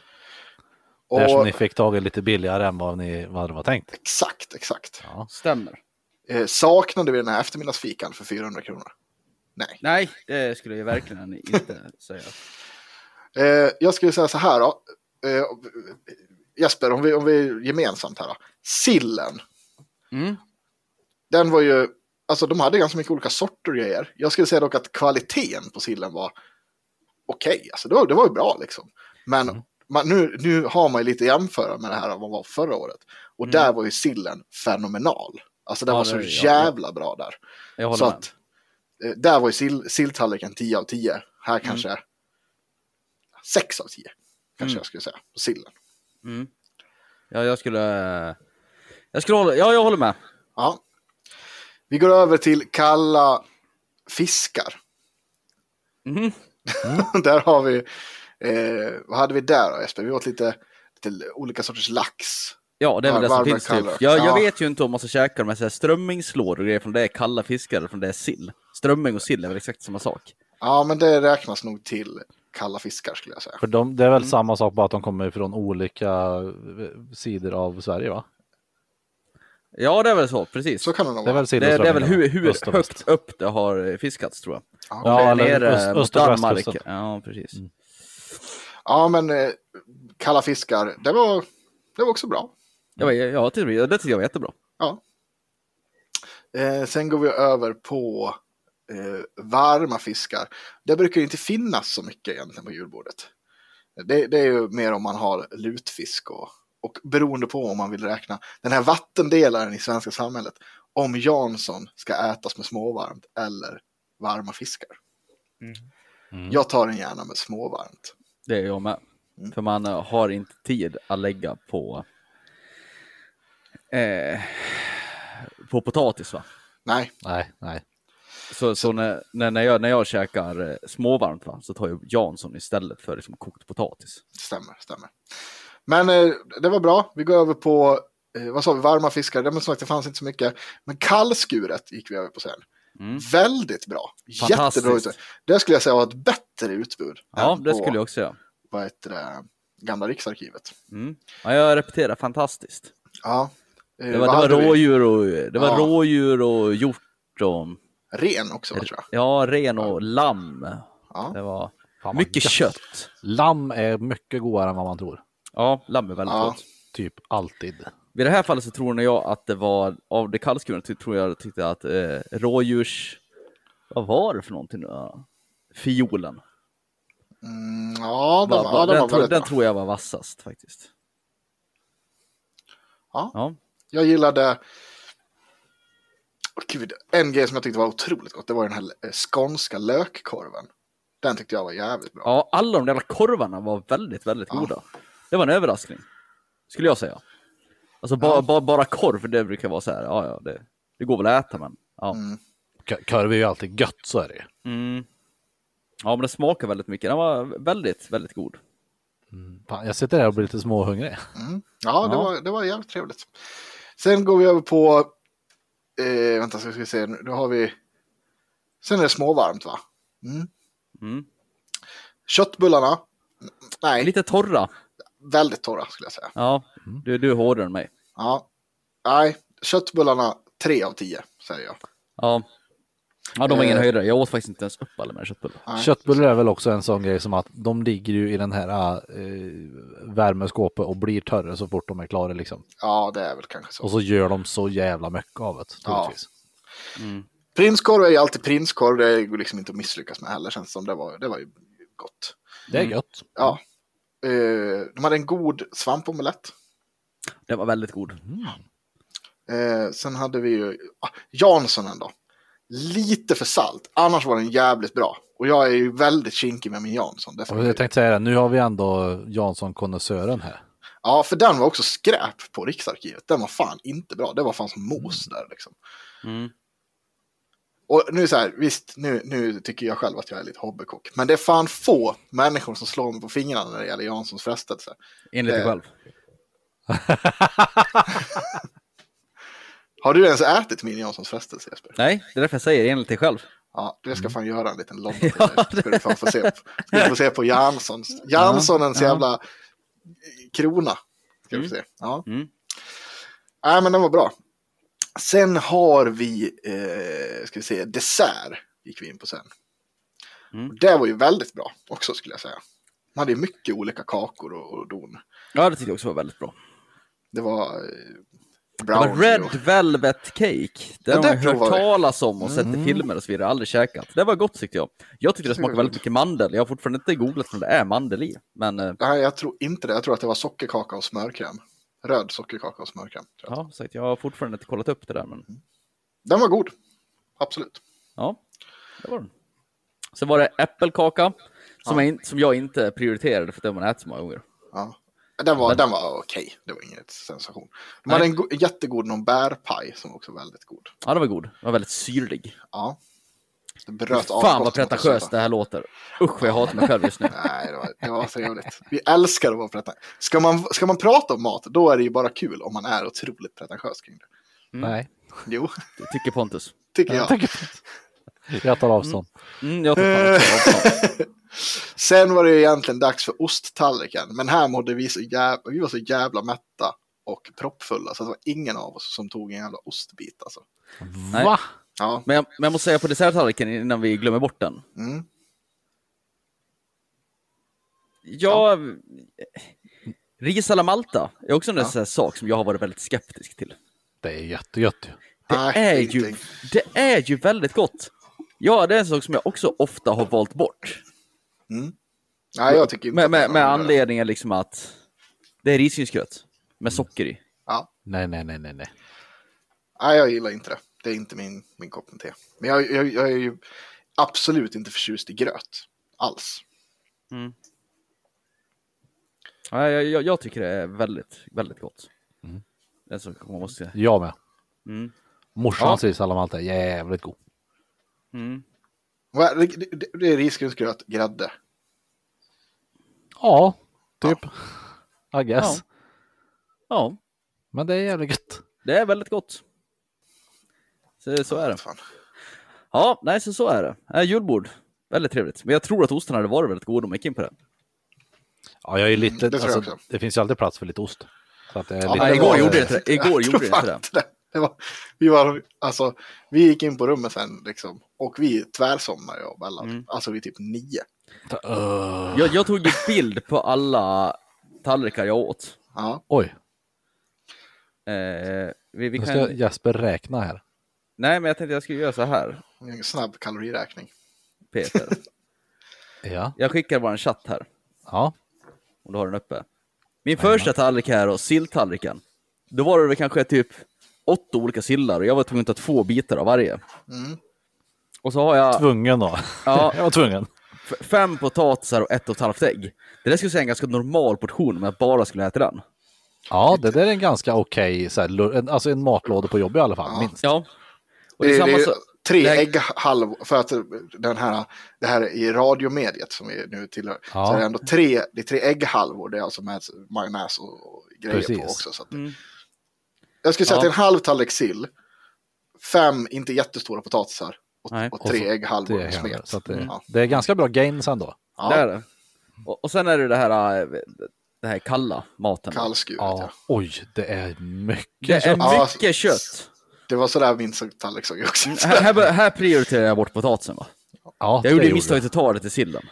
S3: Där som
S4: Och-
S3: ni fick tag i lite billigare än vad, ni, vad det var tänkt.
S4: Exakt, exakt.
S5: Stämmer.
S4: Eh, saknade vi den här eftermiddagsfikan för 400 kronor? Nej.
S5: Nej, det skulle jag verkligen inte säga.
S4: Eh, jag skulle säga så här då. Eh, Jesper, om vi, om vi är gemensamt här då. Sillen.
S5: Mm.
S4: Den var ju, alltså de hade ganska mycket olika sorter och grejer. Jag skulle säga dock att kvaliteten på sillen var okej. Alltså det var, det var ju bra liksom. Men
S5: Mm.
S4: man, nu, nu har man ju lite att jämföra med det här man var förra året. Och där var ju sillen fenomenal. Alltså den
S5: Mm. Ja,
S4: var så
S5: det är det, ja.
S4: jävla bra där.
S5: Jag håller
S4: Så
S5: med.
S4: att, eh, där var ju sill, silltallriken 10 av 10. Här
S5: Mm.
S4: kanske 6 av 10. Kanske
S5: Mm.
S4: jag skulle säga. På sillen.
S5: Ja, jag skulle... eh, Jag skulle hålla... Ja, jag håller med.
S4: Ja. Vi går över till kalla fiskar. Mm.
S5: Mhm.
S4: där har vi, eh, vad hade vi där då Jesper? Vi åt lite, lite olika sorters lax.
S5: Ja, det är väl det som
S4: Varma
S5: finns typ.
S4: kallrök.
S5: Jag, jag
S4: Ja.
S5: vet ju inte om man ska käka de här, så här strömmingslår och grejer från det är kalla fiskar eller från det är sill. Strömming och sill är väl exakt samma sak.
S4: Ja, men det räknas nog till kalla fiskar skulle jag säga.
S3: För de, det är väl
S5: Mm.
S3: samma sak bara att de kommer från olika eh, sidor av Sverige va?
S5: Ja, det är väl så, precis.
S4: Så kan det nog
S3: Det är
S4: vara.
S3: väl,
S5: det, är- det är väl
S3: sidoströmmingarna,
S5: hur, hur
S3: öst och väst.
S5: högt upp det har eh, fiskats, tror jag.
S3: Ja,
S5: Där
S3: eller
S5: nere
S3: öst-
S5: mot
S3: öst och Mm.
S5: Danmark.
S3: västkusten.
S5: Ja, precis.
S4: Ja, men eh, kalla fiskar, det var, det var också bra.
S5: Ja, men jag, jag, tyckte- det tyckte jag var jättebra.
S4: Ja. Eh, sen går vi över på eh, varma fiskar. Det brukar ju inte finnas så mycket egentligen på julbordet. Det, det är ju mer om man har lutfisk och, och beroende på om man vill räkna den här vattendelaren i svenska samhället. Om Jansson ska ätas med småvarmt eller varma fiskar. Jag tar den gärna med småvarmt.
S5: Det är jag med.
S4: Mm.
S5: För man eh, har inte tid att lägga på, eh, på potatis. Va?
S4: Nej,
S3: Nej, nej.
S5: Så, så när, när, när, jag, när jag käkar eh, småvarmt va? så tar jag Jansson istället för liksom, kokt potatis.
S4: Stämmer, stämmer. Men eh, det var bra. Vi går över på, eh, vad sa vi, varma fiskar. Det, men som sagt, det fanns inte så mycket. Men kallskuret gick vi över på sen. Väldigt bra.
S5: Mm. Fantastiskt.
S4: Jätteroligt. Det skulle jag säga var ett bättre utbud.
S5: Ja,
S4: än
S5: det
S4: på,
S5: skulle jag också göra.
S4: Vad heter det? Gamla Riksarkivet.
S5: Mm. Ja, jag repeterar fantastiskt.
S4: Ja. Eh,
S5: Det var,
S4: vad
S5: det
S4: hade
S5: var
S4: vi?
S5: rådjur och, det var
S4: Ja.
S5: rådjur och hjort och
S4: Ren också, tror jag.
S5: ja, ren och lamm.
S4: Ja.
S5: Det var
S3: Fan, vad
S5: mycket
S3: gött.
S5: kött.
S3: Lamm är mycket godare än vad man tror.
S5: Ja, lamm är väldigt
S4: Ja.
S5: gott.
S3: Typ alltid.
S5: Vid det här fallet så tror nog jag att det var, av det kallskurna ty- tror jag tyckte att eh, rådjurs, vad var det för någonting nu? Ja, Fiolen.
S4: Mm, ja, den var,
S5: Va- va-
S4: ja, den
S5: den,
S4: var
S5: tro,
S4: väldigt
S5: den
S4: bra.
S5: tror jag var vassast faktiskt.
S4: Ja.
S5: Ja.
S4: Jag gillade... Åh, Gud, en grej som jag tyckte var otroligt gott, det var den här eh, skånska lökkorven. Den tyckte jag var jävligt bra.
S5: ja, alla de där jävla korvarna var väldigt, väldigt
S4: Ja.
S5: goda. Det var en överraskning, skulle jag säga. Alltså ba, ba, bara korv, det brukar vara så här, ja, ja, det, det går väl att äta, men ja.
S4: Mm.
S3: K- Korv är ju alltid gött, så är det ju.
S5: Mm. Ja, men det smakar väldigt mycket. Den var väldigt, väldigt god.
S3: Fan, jag sitter här och blir lite småhungrig.
S4: Ja, det,
S5: Ja.
S4: Var, det var jävligt trevligt. Sen går vi över på... Eh, vänta, så ska vi se. nu- Då har vi... Sen är det småvarmt, va? Mm.
S5: Mm.
S4: Köttbullarna? N- Nej,
S5: Lite torra.
S4: väldigt torra skulle jag säga.
S5: Ja,
S4: Mm.
S5: du, du är hårdare än mig.
S4: Ja. Nej, köttbullarna 3 av 10, säger jag.
S5: Ja. Ja, de var ingen
S4: Eh.
S5: höjdare. Jag åt faktiskt inte ens upp alla mina köttbullar.
S4: Nej.
S3: Köttbullar är väl också en sån grej som att de ligger ju i den här eh, värmeskåpet och blir törre så fort de är klara liksom.
S4: Ja, det är väl kanske så.
S3: Och så gör de så jävla mycket av det, troligtvis.
S4: Prinskorv är ju alltid prinskorv. Det går liksom inte att misslyckas med heller, känns det som. Det var, det var ju gott.
S3: Det är
S5: Mm.
S3: gött.
S4: Ja. Eh, de hade en god svampomelett.
S5: Den var väldigt god.
S4: Eh, sen hade vi ju ah, Janssonen då. Lite för salt, annars var den jävligt bra. Och jag är ju väldigt kinkig med min Jansson.
S3: Och jag
S4: definitivt.
S3: tänkte säga det, nu har vi ändå Jansson-konnässören här.
S4: Ja, för den var också skräp på Riksarkivet. Den var fan inte bra. Det var fan som mos där liksom.
S5: Mm.
S4: Och nu så här, visst, nu, nu tycker jag själv att jag är lite hobbykock. Men det är fan få människor som slår mig på fingrarna när det gäller Janssons frestelse.
S5: Enligt dig
S4: Eh.
S5: själv.
S4: Har du ens ätit min Janssons frestelse Jesper?
S5: Nej, det är därför jag säger enligt dig själv.
S4: Ja, det
S5: Mm.
S4: ska fan göra en liten logga till dig. Ska du fan få se på, ska du få se på Janssons. Janssonens
S5: ja.
S4: jävla eh, krona. Ska vi se. Ja.
S5: Mm.
S4: Nej, men den var bra. Sen har vi, eh, ska vi se, dessert gick vi in på sen.
S5: Mm.
S4: Och Det var ju väldigt bra också skulle jag säga. Man hade ju mycket olika kakor och, och don.
S5: Ja, det tyckte jag också var väldigt bra.
S4: Det var eh,
S5: Det
S4: brownie.
S5: var Red
S4: och-
S5: Velvet Cake. Det
S4: Ja,
S5: har
S4: det
S5: man ju hört
S4: provar vi.
S5: talas om och sett i filmer och så vidare. Aldrig käkat. Det var gott tyckte jag. Jag tyckte det smakade väldigt mycket mandel. Jag har fortfarande inte googlat om det är mandel i. Men eh,
S4: Nej, jag tror inte det. Jag tror att det var sockerkaka och smörkräm. Röd sockerkaka och smörkräm. tror jag.
S5: ja, sagt, jag har fortfarande inte kollat upp det där. Men
S4: Den var god. Absolut.
S5: ja, det var den. Sen var det äppelkaka som,
S4: Ja.
S5: jag, in- som jag inte prioriterade för att den har man ätit så många gånger.
S4: Ja. Den var,
S5: Men-
S4: den var okej, det var inget sensation. De
S5: Nej.
S4: hade en go- jättegod någon bärpaj som också var väldigt god.
S5: Ja, den var god. Den var väldigt syrlig.
S4: Ja. Det bröt
S5: Fan vad
S4: avbrottet mot
S5: pretentiöst
S4: oss.
S5: det här låter. Usch vad jag hatar mig själv just nu.
S4: Nej, det var, det var trevligt. Vi älskar att vara pretentiösa. Ska man, ska man prata om mat, då är det ju bara kul om man är otroligt pretentiös kring det.
S5: Mm.
S3: Nej,
S4: Jo,
S5: Tycker Pontus.
S4: tycker jag.
S3: jag tar avstånd.
S5: Mm, jag tar fan också avstånd.
S4: Sen var det ju egentligen dags för osttallriken, men här mådde vi så jävla, vi var så jävla mätta och proppfulla, så det var ingen av oss som tog en jävla ostbit alltså.
S5: Nej.
S3: Va?
S4: Ja,
S5: Men jag, men jag måste säga på desserttallriken innan vi glömmer bort den.
S4: mm.
S5: Jag... Ris alla Malta är också en
S4: Ja.
S5: sån här sak som jag har varit väldigt skeptisk till.
S3: Det är jättegött ju.
S5: Det,
S4: Nej,
S5: är, ju,
S4: ingenting.
S5: det är ju väldigt gott. Ja, det är en sak som jag också ofta har valt bort.
S4: Nej, jag tycker inte
S5: Med,
S4: att det var
S5: med, med
S4: bra.
S5: anledningen liksom att det är risgrynsgröt med socker i.
S4: Ja.
S3: Nej, nej, nej, nej, nej.
S4: Nej, jag gillar inte det. Det är inte min, min kopp med te. Men jag, jag, jag är ju absolut inte förtjust i gröt alls.
S5: Ja, jag, jag, jag tycker det är väldigt, väldigt gott. Det är en sak man måste...
S3: Jag med.
S5: Mm.
S3: Morsans ja. sallamalta är jävligt god.
S5: Mm.
S4: Vad är- Det, det, det är risgrynsgröt, grädde.
S3: Ja, typ. I guess.
S5: Ja. Ja,
S3: Men det är jävligt gött.
S5: det är väldigt gott. Så, så är det.
S4: Fan.
S5: Ja, nej, så, så är det. Äh, julbord, väldigt trevligt. Men jag tror att osten hade varit väldigt god om jag gick in på det.
S3: Ja, jag är lite...
S4: det
S3: Det,
S4: tror jag
S3: alltså,
S4: också.
S3: det finns ju alltid plats för lite ost. Så att det är
S4: Ja,
S3: lite,
S5: Nej, igår
S4: var-
S5: gjorde det inte det. Igår
S4: Jag
S5: gjorde det
S4: tror
S5: inte det.
S4: fan det var, vi, var, alltså, vi gick in på rummet sen liksom, och vi tvärsomnade jag och Bella.
S5: Mm.
S4: Alltså vi typ nio.
S5: Jag, jag tog ju bild på alla tallrikar jag åt.
S4: Ja.
S3: Oj,
S5: Eh, vi, vi
S3: nu
S5: kan...
S3: ska Jesper räkna här.
S5: Nej, men jag tänkte jag skulle göra så här,
S4: En snabb kaloriräkning.
S5: Peter.
S3: Ja.
S5: Jag skickar vår chatt här,
S3: Ja.
S5: om du har den uppe. Min första tallrik här då, silltallriken. Då var det väl kanske typ åtta olika sillar och jag var tvungen att ta två bitar av varje.
S4: Mm.
S5: Och så har jag
S3: Tvungen då.
S5: Ja.
S3: jag var tvungen.
S5: f- fem potatisar och ett och ett halvt ägg. Det där skulle jag säga är en ganska normal portion om jag bara skulle äta den.
S3: Ja, det där är en ganska okej, så här, lur- en- alltså en matlåda på jobb i alla fall,
S4: Ja.
S3: minst.
S5: Ja. Och
S4: Det,
S5: det
S4: är-
S5: är samma
S4: det är
S5: sak.
S4: tre
S5: det här-
S4: ägghalvor, för att den här, det här är i radiomediet som vi nu tillhör.
S3: Ja.
S4: Så är det ändå tre, det är tre ägghalvor, det är alltså med majonnäs och och grejer på
S3: Precis.
S4: också. Så att,
S5: Mm.
S4: Jag skulle säga
S5: Ja.
S4: att det är en halv tallrik sill, fem inte jättestora potatisar och,
S5: Nej.
S4: och
S3: Och
S4: tre
S3: så-
S4: ägghalvor
S3: det
S4: och
S3: händer.
S4: smet. Mm.
S3: Så att det,
S4: Ja.
S3: det är ganska bra gains ändå.
S4: Ja,
S5: Det är det. Och, och sen är det det här, eh, det här kalla maten.
S4: Kallskuret, ja.
S3: Ja. Oj, det är mycket
S5: Det är
S3: kött.
S4: Ja,
S5: mycket kött.
S4: Det var sådär min tallrik såg ut också.
S5: Här, här, bör- här prioriterar jag bort potatisen. Va?
S3: Ja,
S5: Jag gjorde ju
S3: du.
S5: misstaget att ta det till sillen.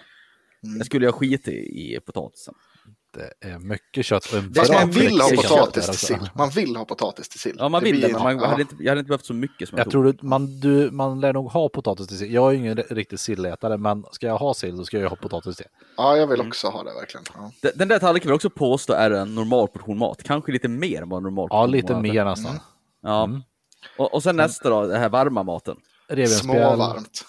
S5: Jag skulle ju ha skit i, i potatisen.
S3: Det är mycket kött. och en
S4: Fast
S3: bra
S4: man vill
S3: prick
S4: ha
S5: prickigt
S4: potatis
S3: kött där
S4: till sill.
S3: också.
S4: Man vill ha potatis till sill.
S5: Ja, man
S4: Det
S5: vill
S4: blir
S5: det, men man
S4: ja.
S5: hade inte, jag hade inte behövt så mycket som jag,
S3: Jag
S5: tog.
S3: tror du, man, du, man lär nog ha potatis till sill. Jag är ju ingen riktig sillätare, men ska jag ha sill då ska jag ju ha potatis till.
S4: Ja, jag vill
S5: Mm.
S4: också ha det verkligen. Ja.
S5: Den- Den där tallriken vill jag också påstå är en normal portion mat. Kanske lite mer än vad en normal portion
S3: Ja, lite
S5: mat är.
S3: mer Mm. nästan.
S5: Ja. Och, och sen nästa då, den här varma maten.
S3: Revbensspjäll,
S4: Småvarmt.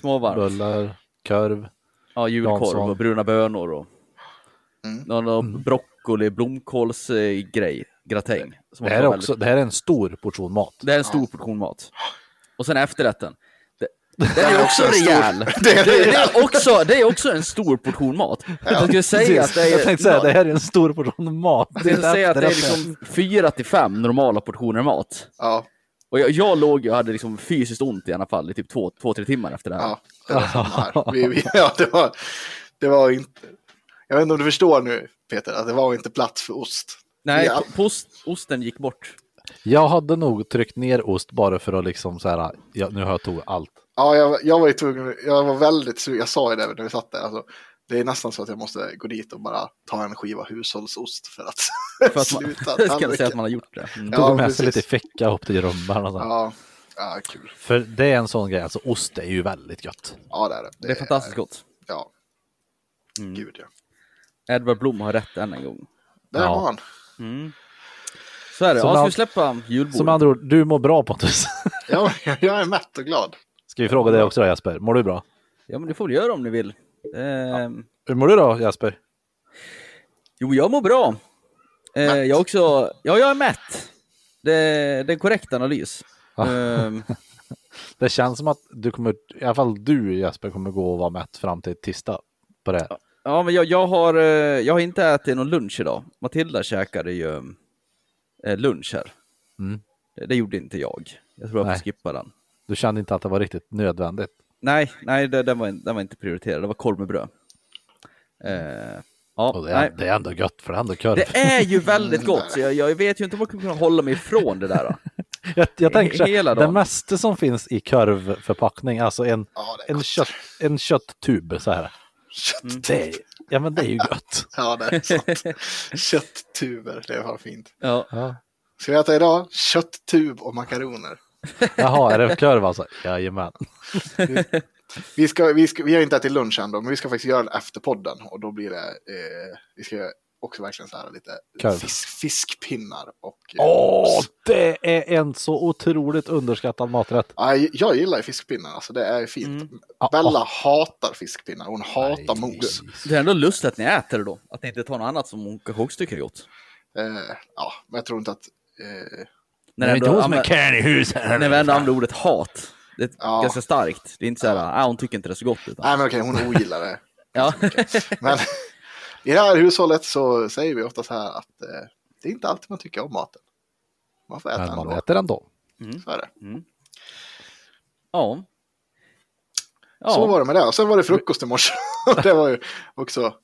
S5: Småvarmt.
S3: köttbullar, korv.
S5: Ja, julkorv
S3: Jansson.
S5: och bruna bönor och
S4: Mm.
S5: någon någon broccoli, blomkålsgrej, gratäng. som
S3: Det här, är
S5: var väldigt-
S3: också, det här är en stor portion mat.
S5: Det är en stor portion mat. Och sen efterrätten. Det, det
S4: Det
S5: är också
S4: en stor-
S5: rejäl.
S4: Det är
S5: Det, det,
S4: rejäl.
S5: är också, det är också en stor portion mat. Jag skulle säga att det är,
S3: jag tänkte säga, det här är en stor portion mat.
S5: jag skulle
S3: inte
S5: säga att det är
S3: efterrätt.
S5: liksom fyra till fem normala portioner mat.
S4: Ja,
S5: Och jag, jag låg ju och hade liksom fysiskt ont i alla fall i typ två, två tre timmar efter det här.
S4: ja. Det var samma här. Vi, vi, ja, det var, det var inte... Jag vet inte om du förstår nu, Peter, att det var inte plats för ost.
S5: Nej,
S4: Ja.
S5: po- post, osten gick bort.
S3: Jag hade nog tryckt ner ost bara för att liksom så här, ja, nu har jag tog allt.
S4: Ja, jag, jag var ju tvungen, jag var väldigt sugen, jag sa ju det när vi satt där, alltså, det är nästan så att jag måste gå dit och bara ta en skiva hushållsost för att,
S5: För att man,
S4: sluta
S5: jag ska
S4: tallriken.
S5: säga att man har gjort det. Mm.
S4: Ja,
S3: Tog med sig
S4: precis.
S3: lite i ficka upp till rummen och så.
S4: Ja, ja, kul.
S3: För det är en sån grej, alltså ost är ju väldigt gött.
S4: Ja, det är det.
S5: Det är fantastiskt gott.
S4: Ja,
S5: Mm.
S4: gud ja.
S5: Edvard Blom har rätt än en gång.
S4: Där
S3: Ja.
S4: var han.
S5: Så är det.
S3: Som
S5: Ja, ska
S3: all-
S5: vi släppa
S3: Som med
S5: julbordet?
S3: andra ord, du mår bra Pontus.
S4: Ja, jag är mätt och glad.
S3: Ska vi fråga dig också då Jesper, mår du bra?
S5: Ja, men det får du göra om ni vill. Ehm,
S3: Hur mår du då Jesper?
S5: Jo, jag mår bra. Eh,
S4: Mätt.
S5: jag också... Ja, jag är mätt. Det, det är en korrekt analys. Ehm,
S3: Det känns som att du kommer, i alla fall du Jesper, kommer gå och vara mätt fram till tisdag på det.
S5: ja, men jag, jag, har, eh, jag har inte ätit någon lunch idag. Matilda käkade ju eh, lunch här.
S3: Mm.
S5: Det, det gjorde inte jag. Jag tror jag
S3: Nej.
S5: får skippa den.
S3: Du kände inte att det var riktigt nödvändigt.
S5: Nej, nej det, den, var, in- den var inte prioriterad. Det var korv med bröd. Eh, ja,
S3: Och det,
S5: nej.
S3: är, det är ändå gött för det är ändå korv.
S5: det är ju väldigt gott, så jag, jag vet ju inte om jag kommer kunna hålla mig ifrån det där.
S3: jag, jag tänker så
S5: hela
S3: här, det
S5: dagen.
S3: mesta som finns i korvförpackning, alltså en,
S4: Ja, det är
S3: en,
S4: gott.
S3: kött, en kötttub så här.
S5: Mm.
S3: Det, är- ja men det är ju gött.
S4: Ja, det är sant. Kötttuber, det var fint.
S5: Ja.
S3: Ja.
S4: Ska vi äta idag? Kötttub och makaroner.
S3: Jaha, är det korv alltså? Jajamän.
S4: Vi, ska, vi, ska, vi har inte ätit lunch ändå, men vi ska faktiskt göra det efter podden. Och då blir det, eh, vi ska göra också verkligen så här lite
S3: Korv.
S4: fisk, fiskpinnar och... eh,
S3: Åh,
S4: ost.
S3: det är en så otroligt underskattad maträtt.
S4: Ja, jag- jag gillar ju fiskpinnar, alltså det är fint.
S3: Ja,
S4: Bella hatar fiskpinnar, hon hatar mos.
S5: Det är ändå lustigt att ni äter det då. Att ni inte tar något annat som hon kanske också tycker är gott.
S4: Eh, ja, men jag tror inte att... Eh,
S5: När, ändå, anvä-
S3: kärn i huset.
S5: när vi ändå använder ordet hat. Det är
S4: Ja.
S5: ganska starkt. Det är inte så här, ah, hon tycker inte det är så gott. Utan,
S4: nej, men okej, hon ogillar det.
S5: ja.
S4: Men i det här hushållet så säger vi ofta så här att eh, det är inte alltid man tycker om maten. Man får äta
S3: Men man
S4: ändå.
S3: äter ändå.
S4: Så, är det.
S5: ja. Ja.
S4: så var det med det. Och sen var det frukost i morse. Och det var ju också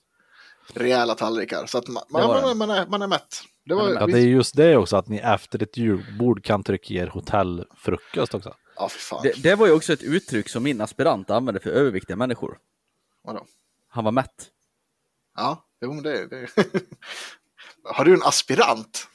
S4: rejäla tallrikar. Så att man, man,
S5: Det var
S4: man, man, är, man är mätt. Det var,
S3: Ja,
S4: vi-
S3: det är just det också, att ni efter ett julbord kan trycka er hotellfrukost också.
S4: ja för fan.
S5: Det, det var ju också ett uttryck som min aspirant använde för överviktiga människor.
S4: Vadå?
S5: Han var mätt.
S4: Ja, jo, men det, det. Har du en aspirant?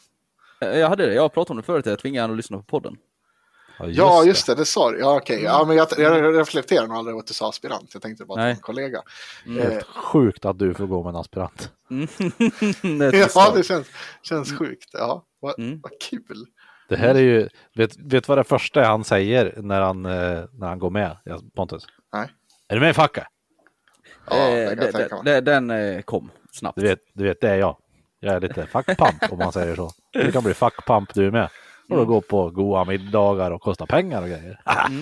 S5: Eh, Jag hade det, jag pratade om det förut, jag tvingade honom att lyssna på podden.
S4: ja, just det. det, sa du. Ja, okej. Ja, men jag, jag reflekterar nog aldrig över att du sa aspirant. Jag tänkte bara att det Mm. var en
S5: Mm. Nej. Mm,
S4: kollega. Eh,
S3: det. Helt sjukt att du får gå med en aspirant.
S5: Det är ett
S4: Ja,
S5: misstag.
S4: det känns, känns sjukt. Ja, vad,
S5: Mm.
S4: vad kul.
S3: Det här är ju, vet, vet vad det första är han säger när han, eh, när han går med, ja, Pontus?
S4: Nej.
S3: Är du med i facket?
S4: Ja, det
S5: Eh,
S4: kan
S5: det-
S4: jag tänka
S5: det-
S4: mig.
S5: det- Den eh, kom snabbt.
S3: Du vet, du vet, det är jag. Jag är lite fackpamp om man säger så. Du kan bli fackpamp du med. Och då gå på goa middagar och kosta pengar och grejer.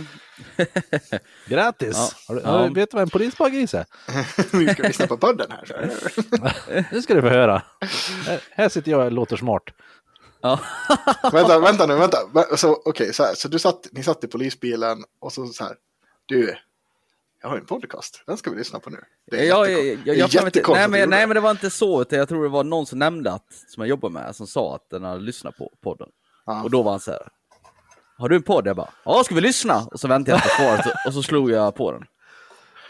S3: Grattis!
S5: Ja.
S3: Har du, har du-
S5: Ja.
S3: Vet du vad en polisbaggis är?
S4: Vi ska lyssna på podden här. Så.
S3: Nu ska du få höra. Här, här sitter jag och låter smart.
S5: Ja.
S4: vänta, vänta nu, vänta. Vä- Så, okej, så, här, så du satt, ni satt i polisbilen och så, så här. Du, jag har ju en podcast. Den ska vi lyssna på nu. Det är
S5: Eh, Jag, jag,
S4: jättekon-
S5: jag, jag,
S4: det är
S5: kan inte-
S4: jättekonstigt
S5: nej,
S4: att du
S5: men, nej,
S4: gjorde
S5: men det var inte så, utan jag tror det var någon som nämnde att, som jag jobbar med, som sa att den hade lyssnat på podden.
S4: Ja.
S5: Och då var han så här. Har du en podd? Jag bara, ja, ska vi lyssna? Och så väntade jag på svaret och- och så slog jag på den.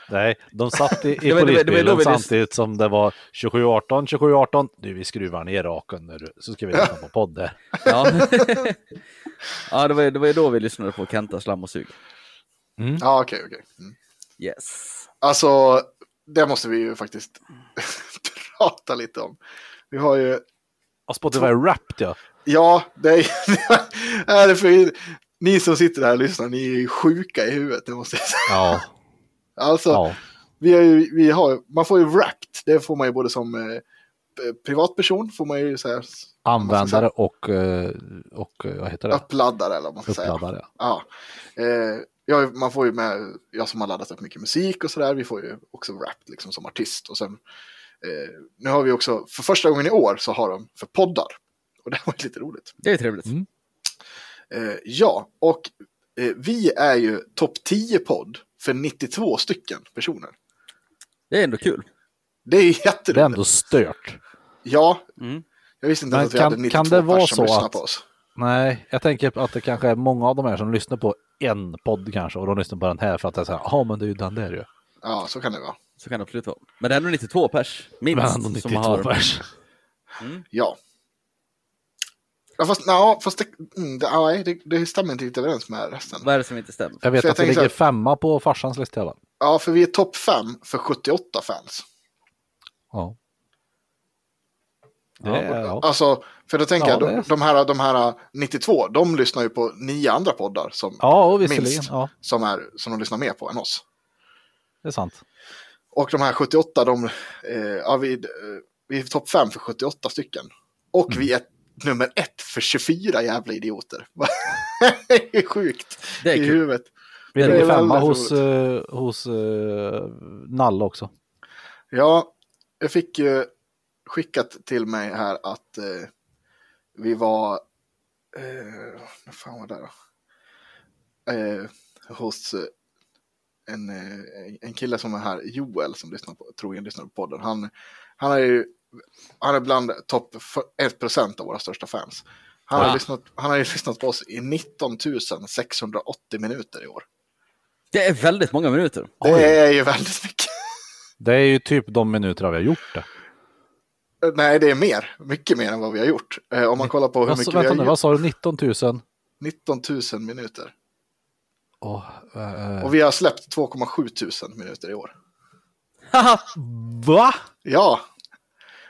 S3: Nej, de satt i, i
S5: det var- det var då
S3: polisbilen
S5: vi lyssn-
S3: samtidigt som det var 27-18, 27-18. Du, vi skruvar ner raken nu, så ska vi lyssna på podd här.
S5: Ja, ja det, var, det var ju då vi lyssnade på Kenta, Slam och Sug.
S4: Ja, okej, okej. Mm.
S5: Yes.
S4: Alltså, det måste vi ju faktiskt prata lite om. Vi har ju
S3: Och Spotify Wrapped ja.
S4: Ja, det är, är det för, ni som sitter där och lyssnar, ni är ju sjuka i huvudet, det måste jag säga.
S3: Ja,
S4: Alltså,
S3: ja.
S4: vi är ju, vi har, man får ju wrapped, det får man ju både som eh, p- privatperson, får man ju säga,
S3: Användare och, eh, och eh, vad heter det?
S4: uppladdare eller vad man ska säga.
S3: Uppladdare.
S4: Ja. Eh, ja, man får ju med, jag som har laddat upp mycket musik och sådär, vi får ju också wrapped liksom som artist. Och sen, eh, nu har vi också, för första gången i år så har de för poddar. Och det var ju lite roligt.
S5: Det är trevligt.
S3: Mm.
S4: Eh, ja, och eh, vi är ju topp 10-podd för 92 stycken personer.
S5: Det är ändå kul.
S4: Det är ju
S3: Det är
S4: jätteroligt.
S3: ändå stört.
S4: Ja,
S5: Mm.
S4: jag visste inte
S3: Men
S4: att vi
S3: kan-
S4: hade 92
S3: kan det vara
S4: pers som
S3: så
S4: lyssnade
S3: att-
S4: på oss.
S3: Nej, jag tänker att det kanske är många av de här som lyssnar på en podd kanske och de lyssnar på den här för att det är så här, ja men det är ju den där ju.
S4: Ja, så kan det vara.
S5: Så kan det absolut vara. Men det är nog 92 pers, minst.
S3: Men ändå
S5: som
S3: 92
S5: har-
S3: pers.
S4: Ja. Ja, fast, na, fast det, mm, det, ja, nej, det, det stämmer inte riktigt överens med resten.
S5: Vad är det som inte stämmer?
S3: Jag vet
S4: Så jag
S3: att det
S4: tänker så
S3: ligger
S4: här-
S3: femma på farsans lista i alla fall.
S4: Ja, för vi är topp 5 för 78 fans.
S3: Ja.
S5: Ja,
S3: Det är- ja.
S4: Alltså, för då tänker
S3: Ja,
S4: jag,
S3: det
S4: de,
S3: är-
S4: de, här, de här 92, de lyssnar ju på nio andra poddar som,
S3: Ja, och visserligen.
S4: Minst.
S3: Ja,
S4: som, är, som de lyssnar mer på än oss.
S3: det är sant.
S4: Och de här 78, de, eh, ja, vi, eh, vi är topp 5 för 78 stycken. Och vi
S3: Mm.
S4: är nummer ett för 24 jävla idioter. det är sjukt
S5: Det är
S4: i
S5: kul.
S4: huvudet.
S3: Vi
S4: är
S3: ligger
S4: väldigt
S3: femma hos, eh, hos eh, Nalle också.
S4: Ja, jag fick ju skickat till mig här att eh, vi var... Eh, vad fan var det då? Eh, hos eh, en, eh, en kille som är här, Joel, som lyssnar på, troligen lyssnar på podden. Han, han är ju han är bland topp för- 1% av våra största fans. Han har,
S5: Wow.
S4: lyssnat, han har ju lyssnat på oss i 19 680 minuter i år.
S5: Det är väldigt många minuter.
S4: Det är ju väldigt mycket.
S3: Det är ju typ de minuter vi har gjort det.
S4: Eh, Nej, det är mer. Mycket mer än vad vi har gjort. Eh, om man kollar på hur
S3: Alltså,
S4: mycket vi
S3: vänta
S4: har
S3: nu,
S4: gjort.
S3: vad sa du, 19 000?
S4: 19 000 minuter.
S3: Åh, eh,
S4: Och vi har släppt 2,7 000 minuter i år.
S5: Haha!
S3: Va?
S4: Ja!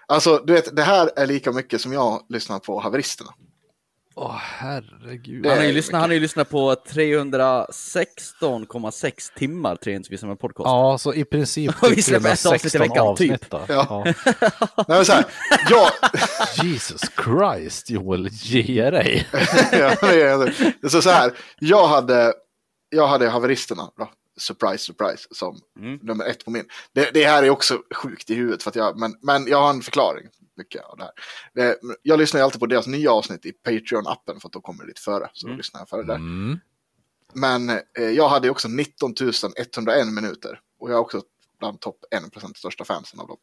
S4: Alltså, du vet, det här är lika mycket som jag lyssnar på haveristerna.
S3: Åh herregud.
S4: Det
S5: Han har
S4: är
S5: ju
S4: ju
S5: lyssnat, han har ju lyssnat på 316,6 timmar Trehentsvisan med podcast.
S3: Ja, så i princip
S5: Vi släpper ett avsnitt i veckan, typ.
S3: då.
S4: Ja.
S3: Ja.
S4: Nej, men så här, jag,
S3: Jesus Christ, Joel, ge dig.
S4: ja, det är- så, så här, jag hade, jag hade haveristerna då. Surprise, surprise, som
S5: Mm.
S4: nummer ett på min. Det, det här är också sjukt i huvudet, för att jag, men, men jag har en förklaring. Mycket av det här. Det, jag lyssnar ju alltid på deras nya avsnitt i Patreon-appen, för att då kommer det lite före. Så då lyssnar jag före där.
S3: Mm.
S4: Men eh, jag hade ju också 19 101 minuter. Och jag är också bland topp 1% största fansen av dem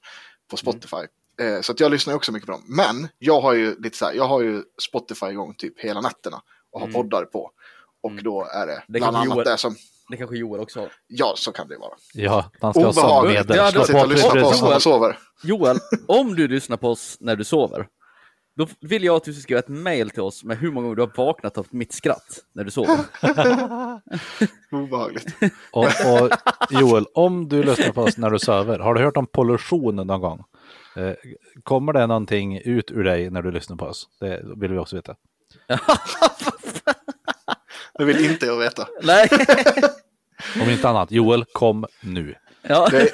S4: på Spotify. Eh, så att jag lyssnar ju också mycket på dem. Men jag har ju lite så här, jag har ju Spotify igång typ hela nätterna och har poddar på. Och då är det,
S5: Det
S4: bland
S5: kanske
S4: annat
S5: Joel-
S4: det som,
S5: Det kanske Joel också har.
S4: ja så kan det ju vara.
S3: Ja, han ska ha
S4: Obehagligt.
S3: sömnmedel.
S5: Ja,
S3: Slå
S5: då-
S4: Att sitta och lyssna på oss när man
S5: Joel.
S4: sover.
S5: Joel, om du lyssnar på oss när du sover, då vill jag att du ska skriva ett mail till oss med hur många gånger du har vaknat av mitt skratt när du sover.
S4: Obehagligt.
S3: Och, och Joel, om du lyssnar på oss när du söver, har du hört om pollution någon gång? Eh, Kommer det någonting ut ur dig när du lyssnar på oss? Det vill vi också veta.
S4: Det vill inte jag veta.
S5: Nej.
S3: Om inte annat, Joel, kom nu.
S5: Ja.
S4: Det,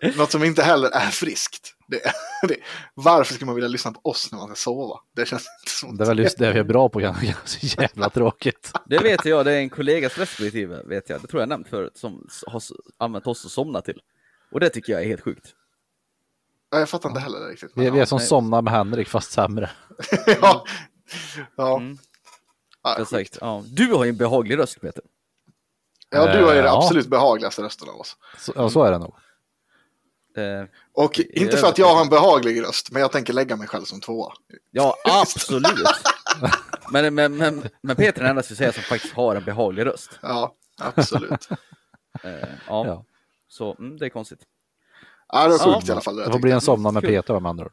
S4: det, något som inte heller är friskt. Det, det, varför ska man vilja lyssna på oss när man ska sova? Det känns inte som
S3: Det är väl just det vi är bra på, kanske. så jävla tråkigt.
S5: Det vet jag, det är en kollegas respektive, vet jag. Det tror jag nämnt förut, som s- har s- använt oss att somna till. Och det tycker jag är helt sjukt.
S4: Ja, jag fattar inte heller det riktigt. men
S3: Vi, vi är som
S5: nej.
S3: somnar med Henrik, fast sämre.
S4: ja. ja. Ja.
S5: Mm.
S4: Ja,
S5: För sagt, ja. Du har ju en behaglig röst, Peter.
S4: ja, du har ju
S3: Eh,
S4: den
S3: ja.
S4: absolut behagligaste rösten av oss.
S3: Så, ja, så är det nog.
S5: Eh,
S4: Och
S5: I
S4: inte för att
S5: övrigt-
S4: jag har en behaglig röst, men jag tänker lägga mig själv som tvåa.
S5: ja, absolut. Men, men, men, men Peter är den enda skulle säga som faktiskt har en behaglig röst.
S4: Ja, absolut.
S5: Eh, ja.
S3: Ja.
S5: Så mm, det är konstigt.
S4: ja, det var
S5: Ja.
S4: sjukt i alla fall. det
S3: Det
S4: jag
S3: får
S4: tyckte.
S3: bli en somna med
S5: Kul.
S3: Peter med andra ord.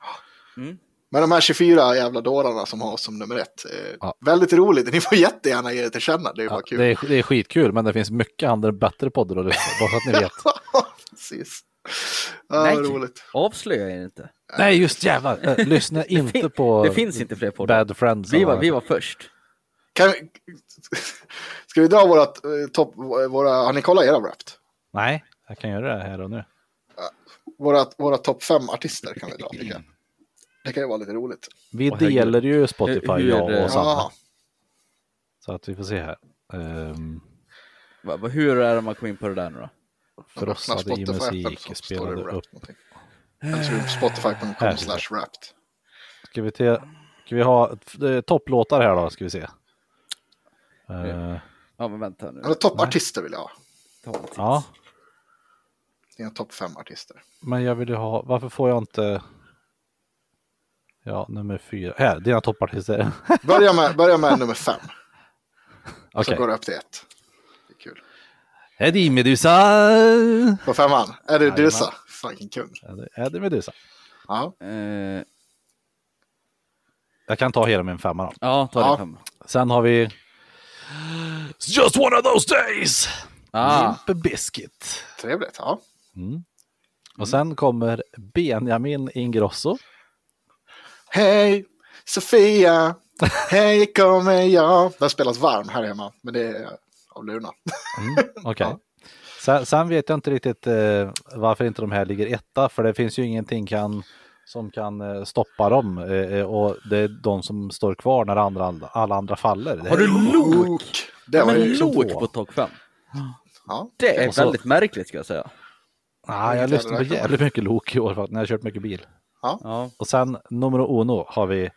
S4: Men de här 24 jävla dårarna som har oss som nummer ett. Eh,
S3: Ja.
S4: Väldigt roligt, ni får jättegärna ge det till känna, det är ju
S3: Ja,
S4: bara kul.
S3: det, är, det är skitkul, men det finns mycket andra bättre poddar att lyssna på, bara så att ni vet.
S4: Precis. Ja,
S5: Nej.
S4: vad roligt.
S5: Avslöja er inte.
S3: Nej, just jävlar. Eh, Lyssna inte på
S5: Det finns inte fler poddar.
S3: Bad Friends.
S5: Vi
S3: eller
S5: var,
S3: vad
S5: vi
S3: det
S5: var först.
S4: Kan vi... Ska vi dra vårat eh, topp, våra, har ni kollat era Wrapped?
S3: heter. Nej, jag kan göra det här och nu.
S4: Våra, våra topp fem artister kan vi dra, tycker jag. Det kan ju vara lite roligt.
S3: Vi
S5: Åh, herregud.
S3: delar ju Spotify,
S5: Hur- hur är
S3: jag
S5: det?
S3: och Sanna.
S4: Ja,
S3: Så att vi får se här. Ehm,
S5: Va- va- Hur är det man kommer in på det där nu då?
S3: frossade i musik, spelade upp.
S4: Spotify.com
S3: Här.
S4: slash wrapped.
S3: Ska vi, till, ska vi ha ett- eh, topplåtar här då, ska vi se. Eh,
S5: Ja, men vänta nu.
S4: Eller toppartister vill jag ha.
S5: Ta en titt.
S3: ja.
S4: Dina topp fem artister.
S3: Men jag vill ju ha, varför får jag inte... Ja, nummer fyra. Här, dina toppartister.
S4: Börja med, börja med nummer fem.
S3: Okej.
S4: Så går det upp till ett. Det är kul.
S3: Eddie Medusa!
S4: På femman, är det
S3: Jajamän.
S4: Dusa? Fucking kung.
S3: Eddie- Eddie Medusa.
S4: Ja.
S5: Eh,
S3: Jag kan ta hela min femma då.
S5: ja, ta
S4: Ja.
S5: det fem.
S3: Sen har vi... It's just one of those days!
S4: Mm.
S5: Ah,
S3: Limp Bizkit.
S4: Trevligt, ja.
S3: Och sen kommer Benjamin Ingrosso.
S4: Hej Sofia, hej kommer jag. Den spelas varm här hemma, men det är av Luna.
S3: Okej. Sen, sen vet jag inte riktigt eh, varför inte de här ligger etta, för det finns ju ingenting kan, som kan eh, stoppa dem. Eh, eh, och det är de som står kvar när andra, alla andra faller. Det
S5: har
S3: är-
S5: du lok?
S4: Det var
S5: Men
S4: ju... liksom
S5: lok
S3: två.
S5: på topp 5?
S4: Ja.
S5: Det är
S3: Och så-
S5: väldigt märkligt ska jag säga.
S3: Ah, jag lyssnar på jävligt mycket lok i år, för att när jag har kört mycket bil.
S5: Ja.
S3: Och sen nummer uno har vi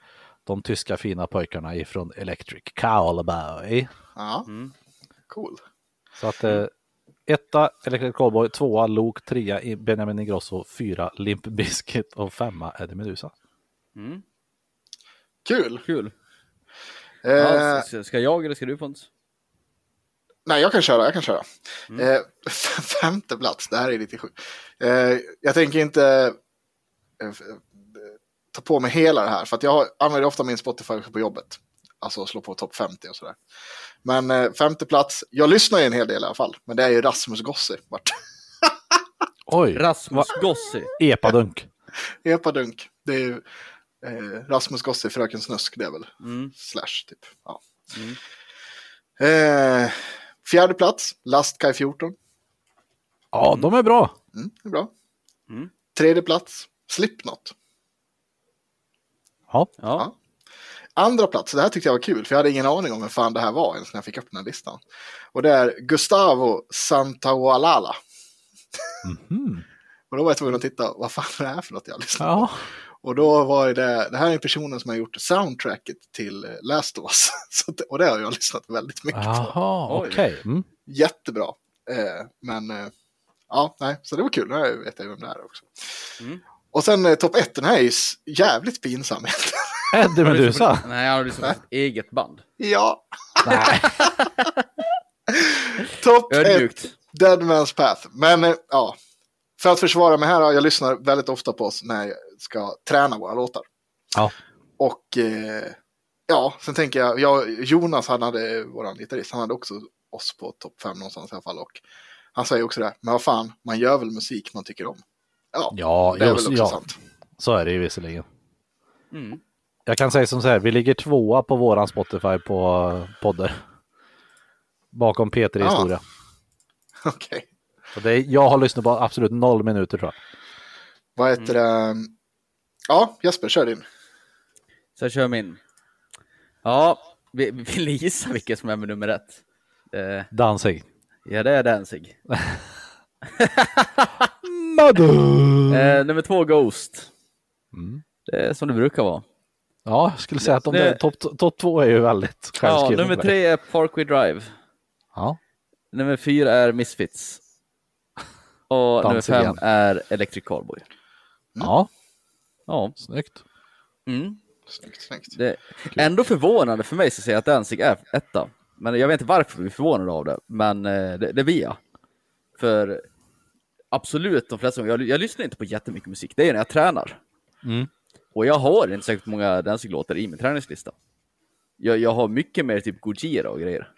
S3: de tyska fina pojkarna ifrån Electric Cowboy.
S4: ja. Cool.
S3: Så att eh, etta Electric Cowboy, tvåa Lok, trea I- Benjamin Ingrosso, fyra Limp Bizkit och femma Eddie Meduza.
S4: Kul.
S5: Kul.
S4: Eh,
S5: Ja, s- s- ska jag eller ska du Pontus?
S4: Nej, jag kan köra, jag kan köra. Eh, femte plats, det här är lite sjukt. Eh, jag tänker inte eh, f- eh, ta på mig hela det här, för att jag har- använder ofta min Spotify på jobbet. Alltså slå på topp 50 och sådär. Men eh, femte plats, jag lyssnar ju en hel del i alla fall, men det är ju Rasmus Gossi. Vart
S3: Oj,
S5: Rasmus Gossi.
S3: epadunk.
S4: epadunk. Det är ju eh, Rasmus Gossi, Fröken Snusk, det är väl slash typ. Ja. Eh, fjärde plats, Lastkaj 14.
S3: Ja, de är bra.
S4: Mm, det är bra. Tredje plats, Slipknot.
S3: Ja,
S5: Ja.
S4: Andra plats, det här tyckte jag var kul, för jag hade ingen aning om vem fan det här var ens när jag fick upp den här listan. Och det är Gustavo Santaolalla. Och då var jag tvungen att titta, vad fan är det här för något jag lyssnar på?
S3: ja.
S4: Och då var ju det, det här är personen som har gjort soundtracket till eh, Last of Us. Så att- och det har jag lyssnat väldigt mycket på.
S3: Jaha,
S5: Oj.
S3: okej. Mm.
S4: Jättebra. Eh, men eh, ja, nej, så det var kul. Nu vet jag vem det är också. Och sen eh, topp ett, den här är ju s- jävligt pinsam.
S3: Eddie Meduza.
S5: Nej, han har liksom ett eget band.
S4: ja. topp ett,
S5: Ödmjukt.
S4: Dead Man's Path. Men eh, ja, för att försvara mig här, ja, jag lyssnar väldigt ofta på oss när jag ska träna våra låtar.
S3: Ja.
S4: Och eh, ja, sen tänker jag, jag, Jonas, han hade, eh, våran gitarrist, han hade också oss på topp fem någonstans i alla fall. Och han säger också det, här, men vad fan, man gör väl musik man tycker om. Ja,
S3: Ja,
S4: det är väl
S3: just-
S4: också
S3: ja.
S4: sant.
S3: Så är det ju visserligen.
S5: Mm.
S3: Jag kan säga som så här, vi ligger tvåa på våran Spotify på eh, podder. Bakom Peter i
S4: Ja.
S3: historia.
S4: Okej,
S3: Och det är, jag har lyssnat på absolut noll minuter tror jag.
S4: vad heter
S3: Mm.
S4: det? Ja, Jesper, kör din.
S5: Så jag kör min. Ja, vi- vi- vill ni gissa vilken som är med nummer ett? Eh,
S3: Danzig.
S5: ja, det är Danzig.
S3: Mm.
S5: Eh, nummer två, Ghost. Det är som det brukar vara.
S3: Ja, jag skulle säga att de
S5: Det-
S3: där topp top två är ju väldigt
S5: Ja,
S3: självskrivna.
S5: nummer tre är Parkway Drive.
S3: Ja.
S5: Nummer fyra är Misfits. Och nummer
S3: Danzig
S5: fem
S3: igen.
S5: är Electric Callboy.
S3: ja,
S5: Mm. Ja,
S3: snyggt.
S5: mm.
S4: Snyggt, snyggt.
S5: det är ändå förvånande för mig så att säga att Danzig är etta. Men jag vet inte varför vi är förvånade av det, men eh, det, det blir jag. För absolut, de flesta jag, jag lyssnar inte på jättemycket musik, det är när jag tränar.
S3: Mm.
S5: Och jag har inte särskilt många Danzig-låtar i min träningslista. Jag, jag har mycket mer typ Gojira och grejer.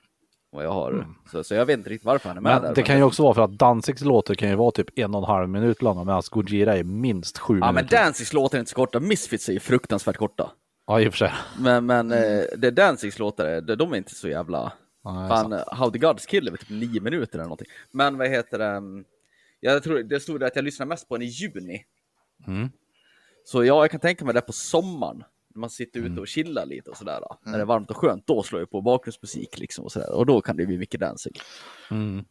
S5: Vad jag har. Så, så jag vet inte riktigt varför han är med
S3: Mm. Men
S5: där.
S3: det
S5: men-
S3: kan ju också vara för att Danzigs låtar kan ju vara typ en och en halv minut långa medan Gojira är minst sju
S5: Ja, men
S3: minuter.
S5: Danzigs låtar är inte så korta. Misfits är ju fruktansvärt korta.
S3: Ja, i och för sig.
S5: Men, men eh,
S3: Mm.
S5: det Danzigs låtar, är, de de är inte så jävla...
S3: Ja, det är
S5: Fan, How the Gods Kill är väl typ nio minuter eller någonting. Men vad heter det? mm, Jag tror det stod där att jag lyssnar mest på den i juni. Så ja, jag kan tänka mig det på sommaren. När man sitter ute och chillar lite och sådär. När det är
S4: Mm.
S5: varmt och skönt, då slår jag på bakgrundsmusik liksom och sådär. Och då kan det bli mycket Danzig.
S3: Mm.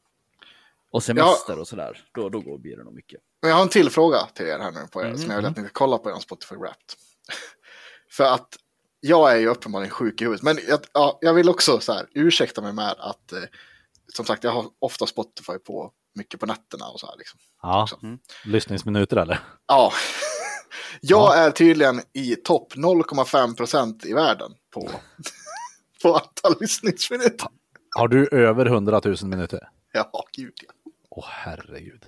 S5: Och semester och sådär, då, då går, blir det nog mycket.
S4: Men jag har en till fråga till er här nu på er, som jag vill att ni ska kolla på er Spotify Wrapped. För att jag är ju uppenbarligen sjuk i huvudet, men jag, ja, jag vill också så här, ursäkta mig med att eh, som sagt, jag har ofta Spotify på mycket på nätterna och så här. Liksom.
S3: Ja.
S4: Också.
S5: Mm.
S3: Lyssningsminuter eller?
S4: Ja. Jag är tydligen i topp 0,5 procent i världen på, på antal lyssningsminuter.
S3: Har du över 100 000 minuter?
S4: Ja, gud ja.
S3: Åh herregud.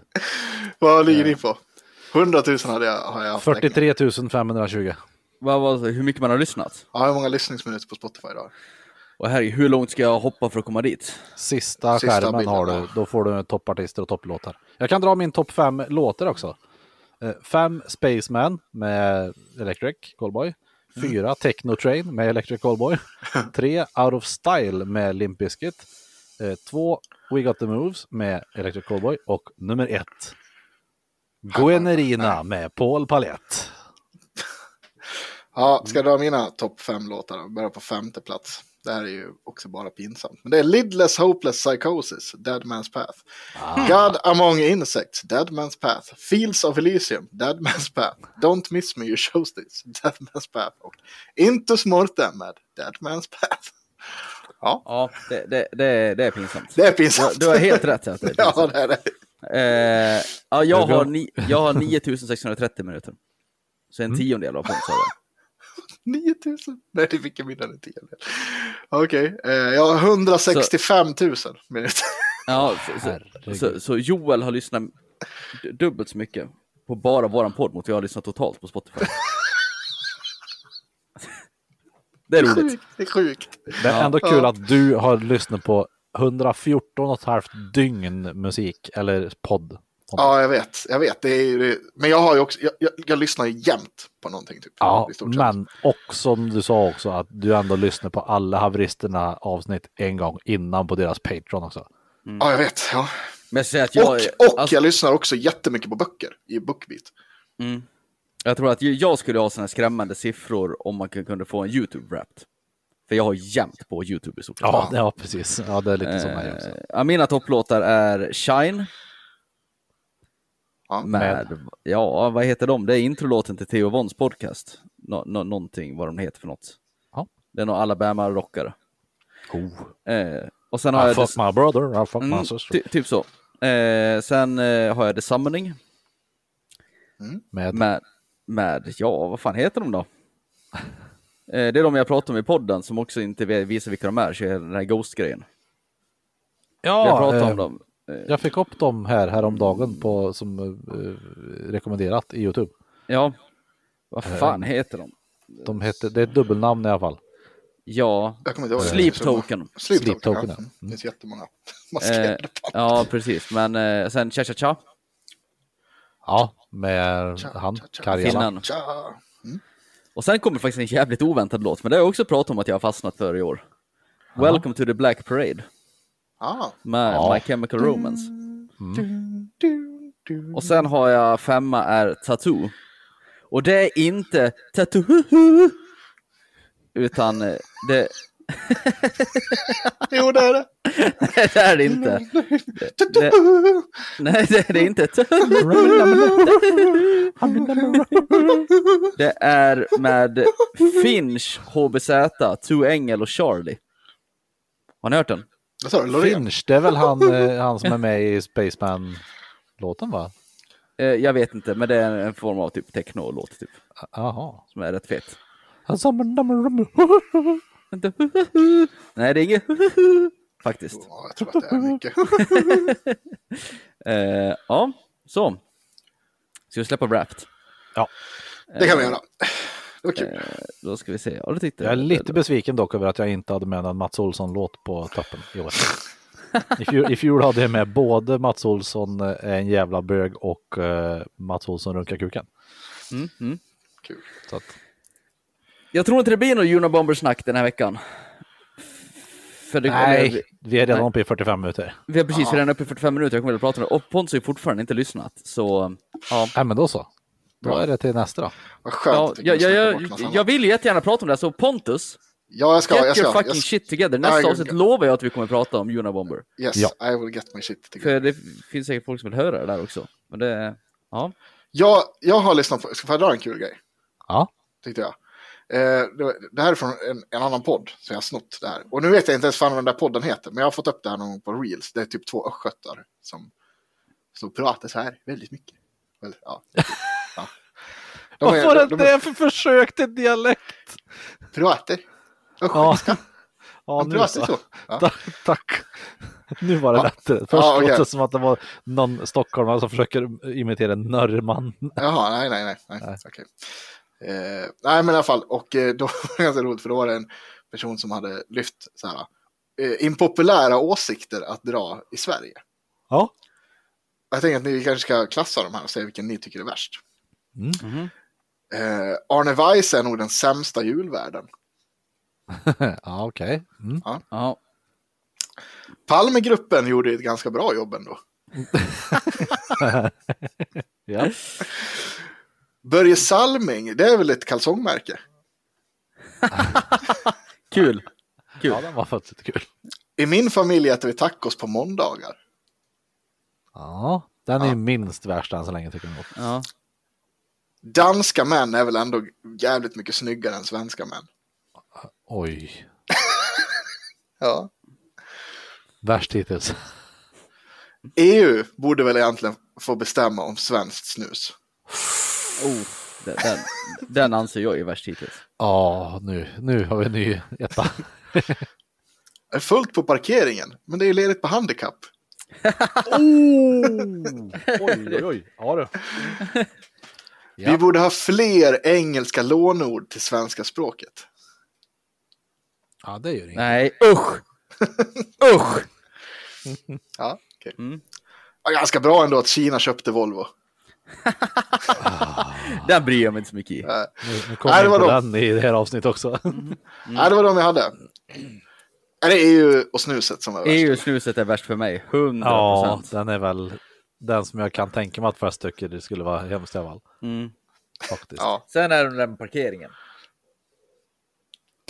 S4: Vad ligger ni på? 100 000 hade jag, har jag haft.
S3: 43 520.
S5: Vad, vad, hur mycket man har lyssnat?
S4: Ja, hur många lyssningsminuter på Spotify idag?
S5: Och herregud, hur långt ska jag hoppa för att komma dit?
S3: Sista,
S4: Sista
S3: skärmen
S4: bilden,
S3: har
S4: ja.
S3: du. Då får du toppartister och topplåtar. Jag kan dra min topp fem låtar också. Eh, Fem Spaceman med Electric Callboy.
S4: Mm.
S3: Fyra Techno Train med Electric Callboy. Tre Out of Style med Limp Bizkit. Eh, Två We Got The Moves med Electric Callboy. Och nummer ett Guenerina med Paul Palette.
S4: Ja, ska jag dra mina topp fem låtar då? Börja på femte plats. Det här är ju också bara pinsamt. Men det är Lidless Hopeless Psychosis, Dead Man's Path.
S5: Ah.
S4: God Among Insects, Dead Man's Path. Fields of Elysium, Dead Man's Path. Don't Miss Me You Chose This, Dead Man's Path. Och Intus Mortem med Dead Man's Path.
S5: Ja, det, det, det, det är pinsamt.
S4: Det är pinsamt.
S5: Du, du har helt rätt. Att det är
S4: ja,
S5: pinsamt.
S4: det är det.
S5: Eh, ja, jag,
S3: Det är bra.
S5: har ni, jag har 9630 minuter. Så
S3: Mm.
S5: en tiondel av Pontus har jag.
S4: 9000? Nej, det fick jag mindre än 10. Okej, eh, jag har 165 000 minuter.
S5: Ja, så, så, så, så Joel har lyssnat d- dubbelt så mycket på bara våran podd mot vad jag har lyssnat totalt på Spotify. Det är roligt.
S4: Sjukt, det är sjukt.
S3: Det är
S5: Ja.
S3: ändå kul att du har lyssnat på 114 och ett halvt dygn musik eller podd.
S4: Ja, jag vet. Jag vet. Det är, ju- men jag har ju också, jag, jag, jag lyssnar ju jämt på någonting. Typ,
S3: Ja,
S4: i stort sett.
S3: men och som du sa också att du ändå lyssnar på alla haveristerna avsnitt en gång innan på deras Patreon också.
S4: Ja, jag vet. Ja.
S5: Men jag säger att
S4: Och,
S5: jag,
S4: och
S5: alltså,
S4: jag lyssnar också jättemycket på böcker i Bookbeat.
S5: jag tror att ju- jag skulle ha sådana skrämmande siffror om man kun- kunde få en YouTube wrapped. För jag har jämt på YouTube i stort sett.
S3: Ja, ja precis. Ja, det är lite som mig också.
S5: Eh, ja, mina topplåtar är Shine.
S4: Ja.
S5: med, ja, vad heter de? Det är introlåten till Theo Vons podcast. Nå, nå, någonting, vad de heter för något.
S3: Ja.
S5: Det är någon Alabama-rockare. Eh, och sen har
S3: I
S5: jag...
S3: fuck my brother, I fuck
S5: Mm,
S3: my sister.
S5: ty, typ så. Eh, sen eh, har jag The Summoning
S3: Med,
S5: med, med, ja, vad fan heter de då? Eh, det är de jag pratade om i podden som också inte vi- visar vilka de är, så är det den här Ghost-grejen.
S3: ja,
S5: jag pratade
S3: eh,
S5: om dem. Eh,
S3: Jag fick upp dem här häromdagen på, som eh, rekommenderat i YouTube.
S5: Ja, vad
S3: Eh.
S5: fan heter de?
S3: De hette, det är ett dubbelnamn i alla fall.
S5: Ja,
S4: Jag kommer inte ihåg det.
S5: Sleep
S4: Så många-
S5: Token.
S4: Sleep,
S3: Sleep
S4: Token,
S3: Token,
S4: ja.
S3: ja.
S4: Mm. Det finns jättemånga
S5: Eh,
S4: maskerade band.
S5: ja, precis. Men eh, sen Cha Cha Cha.
S3: Ja, med han,
S4: Tja, tja, tja.
S3: Karjala.
S5: Finnan.
S4: Tja.
S5: Och sen kommer faktiskt en jävligt oväntad låt, men det har jag också pratat om att jag har fastnat för i år. Welcome to the Black Parade
S4: Ah.
S5: med
S3: Ja.
S5: My Chemical Romance.
S4: Mm.
S5: Och sen har jag femma är Tattoo. Och det är inte Tattoo utan eh, det,
S4: Jo, det är det.
S5: det är det inte. Det, nej, det, det är inte Det är med Finch, HBZ, Two Engel och Charlie. Har ni hört den?
S4: Vad sa du? Loreen?
S3: Finch, det är väl han, eh, han som är med i Spaceman-låten va?
S5: Eh, jag vet inte, men det är en form av typ techno-låt typ,
S3: Jaha.
S5: som är rätt fet.
S3: Han sa, "Men, men, men, men."
S5: Inte Nej, det är inget faktiskt.
S4: Ja, jag tror att det är mycket.
S5: Eh, ja, så. Ska vi släppa Wrapped?
S3: Ja.
S4: Det
S5: Eh,
S4: kan vi göra. Det var kul.
S5: Då ska vi se. Ja, det tyckte
S3: Jag är lite besviken dock över att jag inte hade med en Mats Olsson-låt på toppen i år. I fjol, I fjol hade jag med både Mats Olsson eh, är en jävla bög och eh, Mats Olsson runkar kuken.
S5: mm, mm.
S4: kul.
S3: Så att,
S5: Jag tror inte det blir något Unabomber-snack den här veckan. För det,
S3: nej, vi är redan
S5: nej.
S3: uppe i 45 minuter.
S5: Vi har precis, vi är redan uppe i 45 minuter, jag kommer att prata om det. Och Pontus har ju fortfarande inte lyssnat, så... Ja,
S3: Nej, men då så. Då är det till nästa då.
S4: Vad
S5: ja,
S4: skönt. att vi
S5: jag,
S4: kunde
S5: jag,
S4: snacka
S5: jag,
S4: bort massa
S5: jag
S4: annat.
S5: vill ju jättegärna prata om det här, så Pontus,
S4: Ja, jag ska.
S5: get
S4: Jag ska.
S5: your
S4: Jag
S5: fucking
S4: ska.
S5: shit together. Nästa
S4: Ja, jag-
S5: avsnitt lovar jag att vi kommer att prata om Unabomber.
S4: Yes,
S3: Ja.
S4: I will get my shit together.
S5: För det finns säkert folk som vill höra det där också. Men det... Ja.
S4: Jag, jag har lyssnat på, ska jag dra en kul grej?
S3: Ja.
S4: Tyckte jag. Eh, det, var- det här är från en, en annan podd, så jag har snott det här. Och nu vet jag inte ens fan vad den där podden heter, men jag har fått upp det här någon gång på Reels. Det är typ två östgötar som Så pratar så här väldigt mycket. Eller, ja. ja. De,
S3: Vad
S4: är,
S3: var
S4: de,
S3: det
S4: de,
S3: där för försök till dialekt?
S4: pratar. Och
S3: Ja,
S4: skitska.
S3: ja
S4: De
S3: nu
S4: pratar
S3: så.
S4: så. Ja.
S3: Ta- Tack. Nu var det
S4: Ja.
S3: lättare. Först
S4: Ja, okej.
S3: låter det som att det var någon stockholmare som försöker imitera en nörrman.
S4: Jaha, nej, nej, nej. Nej,
S3: Nej.
S4: Okej. Eh, nej men i alla fall, och eh, då var det ganska roligt för då var det en person som hade lyft så här, eh, impopulära åsikter att dra i Sverige.
S3: Ja.
S4: Jag tänker att ni kanske ska klassa de här och säga vilken ni tycker är värst.
S3: Mm.
S4: Eh, Arne Weiss är nog den sämsta julvärden.
S3: ja, okej. Mm.
S5: Ja.
S4: Palmegruppen gjorde ett ganska bra jobb ändå.
S3: Ja.
S4: Börje Salming, det är väl ett kalsongmärke?
S5: Kul. Kul.
S3: ja, det var faktiskt lite kul.
S4: I min familj äter vi tacos på måndagar.
S3: Ja, den är
S4: Ja.
S3: minst värst än så länge tycker jag. nog.
S5: Ja.
S4: Danska män är väl ändå jävligt mycket snyggare än svenska män.
S3: Oj,
S4: Ja.
S3: värst hittills.
S4: EU E borde väl egentligen få bestämma om svenskt snus.
S5: Oh, den, den, den anser jag är värst hittills.
S3: Ja, nu, nu har vi en ny etta.
S4: Det är fullt på parkeringen, men det är ledigt på handikapp.
S3: oj, oj, oj. Ja, du. Ja.
S4: Vi borde ha fler engelska lånord till svenska språket.
S3: ja det gör inget.
S5: Nej, usch! usch!
S4: Ja, okej.
S5: Mm.
S4: ja, ganska bra ändå att Kina köpte Volvo.
S5: Den bryr jag mig inte så mycket i.
S3: Nu kommer Nej,
S4: Nej, det
S3: in på
S4: var
S3: den i det här avsnittet också.
S4: Ja, det var de jag hade. Är det EU och snuset som var
S5: E
S4: värst?
S5: EU-snuset är värst för mig, 100%.
S3: ja, den är väl den som jag kan tänka mig att flest tycker det skulle vara hemskt i alla fall.
S5: Mm.
S3: Faktiskt.
S4: Ja,
S5: Sen är det den där med parkeringen.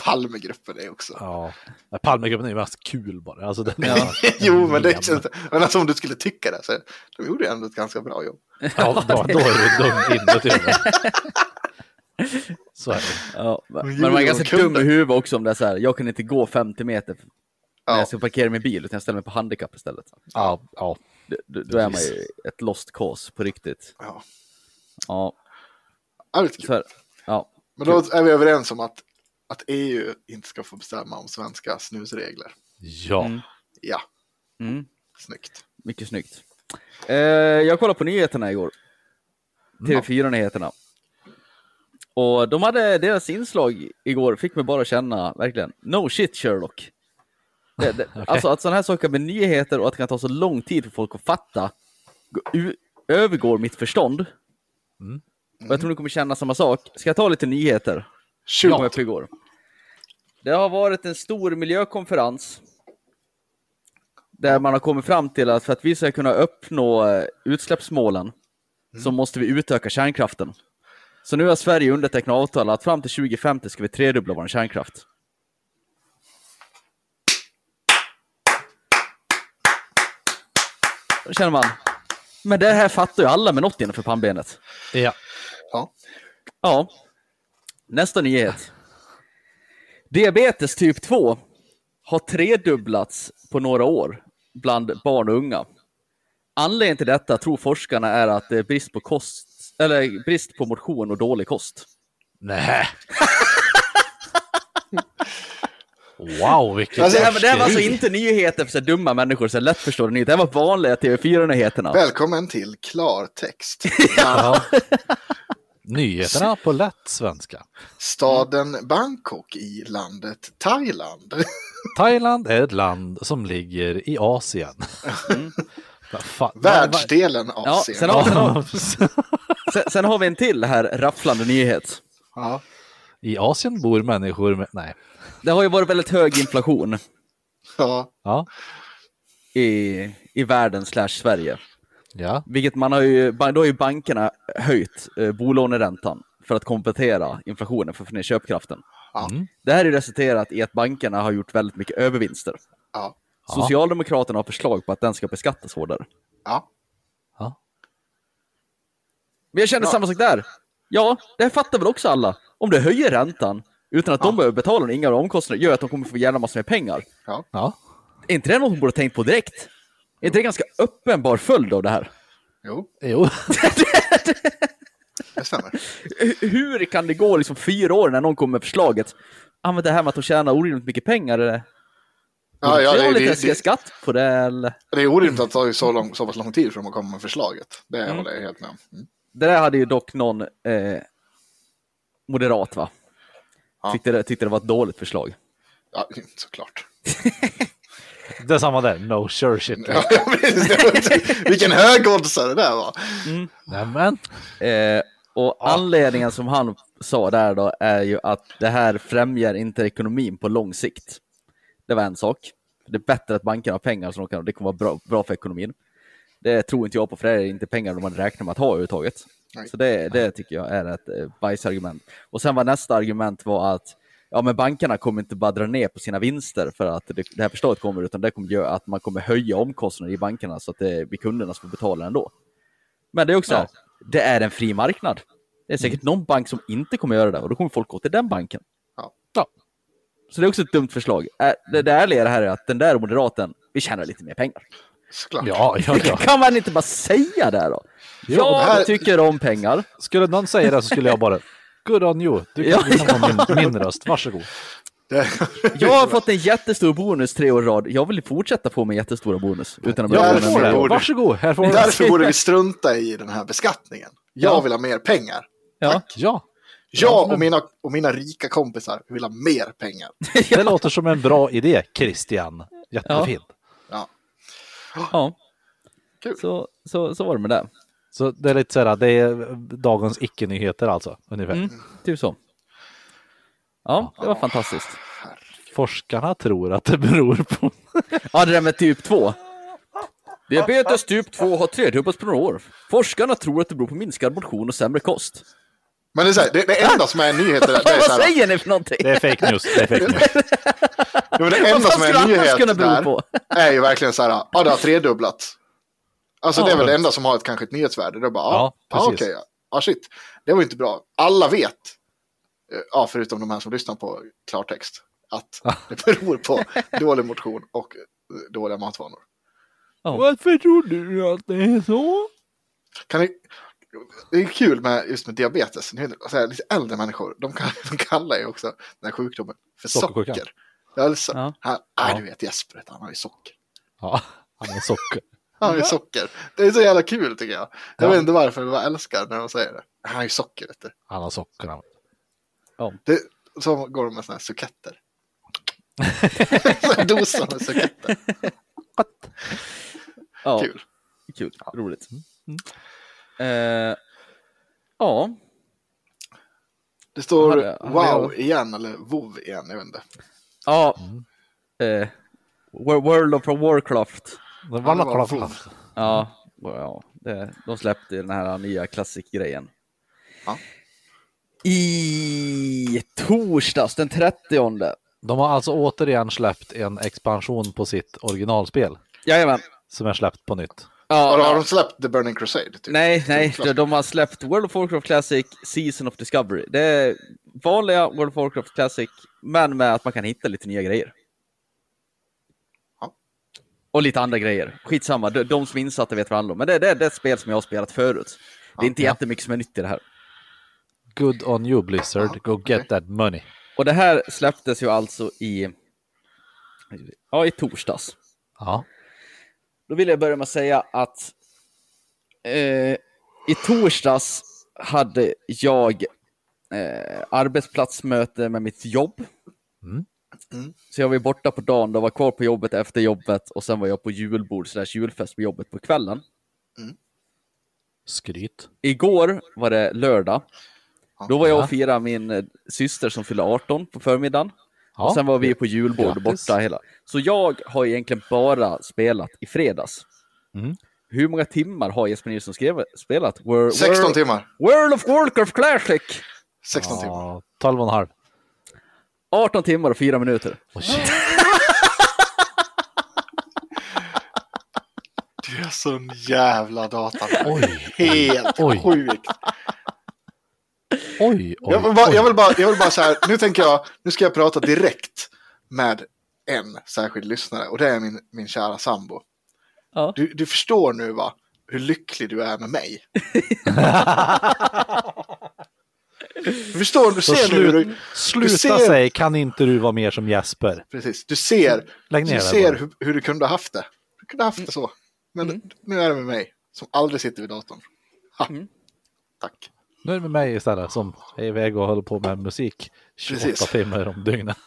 S4: Palmegruppen är också.
S3: Ja. Nej, Palmegruppen är ju mest kul bara. Alltså, den är
S5: Ja.
S4: jo, men det känns... Men alltså om du skulle tycka det, så de gjorde ändå ett ganska bra jobb.
S3: Ja, då, då är du dum inuti. huvudet. Så är det.
S5: Ja, men
S4: Men
S5: man
S4: Julia,
S5: är ganska
S4: kunde.
S5: dum i huvudet också om det är så här, jag kan inte gå 50 meter när
S4: Ja.
S5: jag ska parkera min bil, utan jag ställer mig på handikapp istället.
S3: Ja, ja.
S5: D- d- Då är man ju ett lost cause på riktigt.
S4: Ja,
S5: Ja,
S4: Ja, det är
S5: så
S4: kul.
S5: här. Ja.
S4: Men då är vi överens om att, att EU inte ska få bestämma om svenska snusregler.
S6: Ja.
S5: Mm.
S4: Ja,
S5: Mm.
S4: snyggt.
S5: Mycket snyggt. Eh, jag kollade på nyheterna igår. Mm. TV4-nyheterna. Och de hade deras inslag igår, fick mig bara känna, verkligen, no shit Sherlock. Det, det, Alltså att sådana här saker med nyheter och att det kan ta så lång tid för folk att fatta, gå- u- övergår mitt förstånd. Och jag tror ni kommer känna samma sak. Ska jag ta lite nyheter?
S4: Shoot.
S5: kom upp igår. Det har varit en stor miljökonferens där man har kommit fram till att för att vi ska kunna uppnå eh, utsläppsmålen så måste vi utöka kärnkraften. Så nu har Sverige undertecknat avtal att fram till 2050 ska vi tredubbla vår kärnkraft. Då känner man, men det här fattar ju alla med något innanför pannbenet.
S3: Ja.
S4: Ja.
S5: Ja. Nästa nyhet. Diabetes typ 2 har tredubblats på några år bland barn och unga. Anledningen till detta tror forskarna är att det är brist på, kost, eller brist på motion och dålig kost.
S3: Nej. Wow, vilket...
S4: Alltså,
S5: Det här, det här var alltså
S3: skri.
S5: inte nyheter för så här dumma människor, så här lättförstående nyheter. Det här var vanliga TV4-nyheterna.
S4: Välkommen till klartext.
S3: Ja. Nyheterna på lätt svenska.
S4: Staden Bangkok i landet Thailand.
S3: Thailand är ett land som ligger i Asien.
S5: Mm.
S3: Vad fan-
S4: Världsdelen
S5: Ja,
S4: Asien.
S5: sen har-
S3: Ja,
S5: Sen, sen har vi en till här rafflande nyhet.
S4: Ja.
S3: I Asien bor människor med... Nej.
S5: Det har ju varit väldigt hög inflation
S4: Ja.
S3: Ja.
S5: i, i världen slash Sverige.
S3: Ja.
S5: Vilket man har ju, ba- då har ju bankerna höjt eh, bolåneräntan för att kompensera inflationen för att få ner köpkraften.
S4: Ja.
S3: Mm.
S5: Det här är ju resulterat i att bankerna har gjort väldigt mycket övervinster.
S4: Ja.
S3: Ja.
S5: Socialdemokraterna har förslag på att den ska beskattas hårdare.
S4: ja.
S3: ja.
S5: Men jag känner samma sak där. Ja, det här fattar väl också alla. Om du höjer räntan utan att de behöver betala inga omkostnader gör att de kommer få jävla massor med pengar.
S3: Ja.
S5: Är inte det något man borde ha tänkt på direkt? Är inte det en ganska uppenbar följd av det här?
S4: Jo,
S3: Jo,
S4: det stämmer.
S5: Hur kan det gå liksom fyra år när någon kommer med förslaget? Ja, men det här med att de tjänar orimligt mycket pengar, eller?
S4: Ja, ja,
S5: jag
S4: det,
S5: har lite
S4: det,
S5: ska
S4: det,
S5: skatt på det, eller?
S4: det är orimligt att det tar så, lång, så pass lång tid för dem att komma med förslaget. Det håller jag helt med om. Mm.
S5: Det där hade ju dock någon eh, moderat, va?
S4: Ja.
S5: Tyckte, det, tyckte det var ett dåligt förslag.
S4: Ja, såklart.
S3: det är samma där. No sure shit.
S4: Ja, precis. Det var- Vilken hög oddsare det där var.
S3: Nämen.
S5: Eh, och anledningen som han sa där då är ju att det här främjar inte ekonomin på lång sikt. Det var en sak. Det är bättre att bankerna har pengar så de kan, det kommer vara bra, bra för ekonomin. Det tror inte jag på, för det är inte pengar de hade räknat med att ha överhuvudtaget.
S4: Nej.
S5: Så det, det tycker jag är ett eh, bajsargument. Och sen var nästa argument var att ja, men bankerna kommer inte bara dra ner på sina vinster för att det, det här förslaget kommer, utan det kommer göra att man kommer höja omkostnaderna i bankerna så att det blir kunderna som får betala ändå. Men det är också så här, det är en fri marknad. Det är
S3: Mm.
S5: säkert någon bank som inte kommer göra det och då kommer folk gå till den banken.
S4: Ja.
S5: Så det är också ett dumt förslag. Ä- Det, det ärliga i det här är att den där moderaten, vi tjänar lite mer pengar.
S4: Såklart.
S3: Ja, ja, ja.
S5: Kan man inte bara säga det då?
S3: Jo,
S5: jag
S3: det
S4: här-
S5: tycker om pengar.
S3: Skulle någon säga det så skulle jag bara, good on you. Du kan
S5: Ja,
S3: du kan ha min, min röst, varsågod.
S4: Det,
S5: Jag har fått en jättestor bonus tre år i rad. Jag vill fortsätta få min jättestora bonus. Utan att bli
S3: Ja,
S4: därför
S3: du
S5: av
S3: får
S5: med
S4: borde-
S5: den.
S3: det. Varsågod, här får du.
S4: därför borde vi strunta i den här beskattningen. Jag
S5: Ja.
S4: vill ha mer pengar.
S5: Ja.
S3: Ja,
S4: Jag och mina, och mina rika kompisar vill ha mer pengar.
S3: det låter som en bra idé, Christian. Jättefint.
S4: Ja.
S5: Ja.
S4: Kul.
S5: Så, så, så var det med det.
S3: Så det är lite så här, det är dagens icke-nyheter alltså, ungefär.
S5: Mm, typ så. Ja, det var fantastiskt.
S3: Forskarna tror att det beror på...
S5: Ja, det där med typ 2. Diabetes typ 2 har tredubblats på några år. Forskarna tror att det beror på minskad motion och sämre kost.
S4: Men det, är så här, det, det enda som är en nyhet är det, det är
S5: Vad
S4: så här,
S5: säger ni för någonting?
S3: Det är fake news, det är fake news.
S4: Jo, men det enda
S5: fan
S4: som är
S5: skulle
S4: en
S5: annars kunna
S4: nyhet
S5: bero
S4: där
S5: på?
S4: är ju verkligen så här, ja det har tredubblats. Alltså det är väl det enda som har ett kanske ett nyhetsvärde. Det är bara, ja,
S3: Ja,
S4: ja
S3: precis.
S4: okej, ja. ja shit, det var ju inte bra. Alla vet, eh, ja förutom de här som lyssnar på klartext, att det beror på dålig motion och eh, dåliga matvanor.
S3: Varför tror du att det är så?
S4: Kan ni, det är kul med just med diabetes, Ni vet, så här, lite äldre människor, de, kan, de kallar ju också den här sjukdomen för
S3: Sockersjukan.
S4: socker. Alltså,
S5: Ja.
S4: han, nej,
S3: Ja.
S4: du vet Jesper, han har ju socker.
S3: Ja, han är socker.
S4: Han har ju socker. Det är så jävla kul tycker jag. Jag
S3: Ja.
S4: vet inte varför, men jag älskar när de säger det. Han har ju socker, vet du.
S3: Han har socker. han.
S4: Det, så går de med sådana här suketter. Så en Dosa med suketter.
S5: Ja,
S4: Kul. Mm.
S5: kul. Roligt. Eh, ja,
S4: Det står
S5: Hade- hade
S4: wow
S5: jag-
S4: igen, eller vov igen, jag vet inte.
S5: ja. Eh, Wor- World of Warcraft.
S3: Det
S4: Han
S3: var
S4: var
S3: lapp-
S4: full.
S3: lapp-
S5: Ja, ja det, de släppte den här nya klassikgrejen.
S4: Ja.
S5: I torsdags den 30.
S3: De har alltså återigen släppt en expansion på sitt originalspel
S5: Jajamän.
S3: som är släppt på nytt.
S4: Har,
S5: Ja,
S4: har de släppt The Burning Crusade? Typ?
S5: Nej, nej,
S4: Klassiker.
S5: de, de har släppt World of Warcraft Classic Season of Discovery. Det är vanliga World of Warcraft Classic, men med att man kan hitta lite nya grejer.
S4: Ja.
S5: Och lite andra grejer. Skitsamma, de, de som är insatta vet vad det handlar om. Men det, det, det är ett spel som jag har spelat förut. Det är inte
S3: Ja.
S5: jättemycket som är nytt i det här.
S3: Good on you Blizzard, go get that money.
S5: Och det här släpptes ju alltså i, ja, i torsdags.
S3: Ja,
S5: Då vill jag börja med att säga att eh, i torsdags hade jag eh, arbetsplatsmöte med mitt jobb.
S3: Mm.
S4: Mm.
S5: Så jag var ju borta på dagen, då var kvar på jobbet efter jobbet och sen var jag på julbord slash julfest på jobbet på kvällen.
S3: skryt.
S5: Igår var det lördag.
S4: Ja.
S5: Då var jag
S3: Ja.
S5: och firade min eh, syster som fyllde 18 på förmiddagen.
S3: Ja.
S5: och sen var vi på julbord
S3: grattis.
S5: borta hela. Så jag har egentligen bara spelat i fredags.
S3: Mm.
S5: Hur många timmar har Jesper Nilsson skrev, spelat? Wor-
S4: 16
S5: Wor-
S4: timmar.
S5: World of Warcraft Classic!
S4: 16 timmar.
S3: Ja, 12 och en halv.
S5: 18 timmar och 4 minuter.
S3: Åh, shit.
S4: Det är sån jävla data.
S3: Oj,
S4: Helt
S3: Oj.
S4: sjukt.
S3: oj, oj.
S4: Jag vill, bara,
S3: oj.
S4: jag, vill bara, jag vill bara så här, nu tänker jag, nu ska jag prata direkt med en särskild lyssnare och det är min, min kära sambo.
S5: Ja.
S4: Du, du förstår nu va, hur lycklig du är med mig. Du förstår, du
S3: Så
S4: ser nu hur
S3: slu,
S4: du,
S3: sluta
S4: ser-
S3: säg, kan inte du vara mer som Jesper?
S4: precis, du ser,
S3: Lägg ner
S4: du
S3: det
S4: ser
S3: bara.
S4: hur, hur du kunde ha haft det. Du kunde ha haft det så. Men nu är det med mig, som aldrig sitter vid datorn. Ha. Tack.
S3: Nu är det med mig istället som är iväg och håller på med musik 28
S4: Precis.
S3: timmar om dygnet.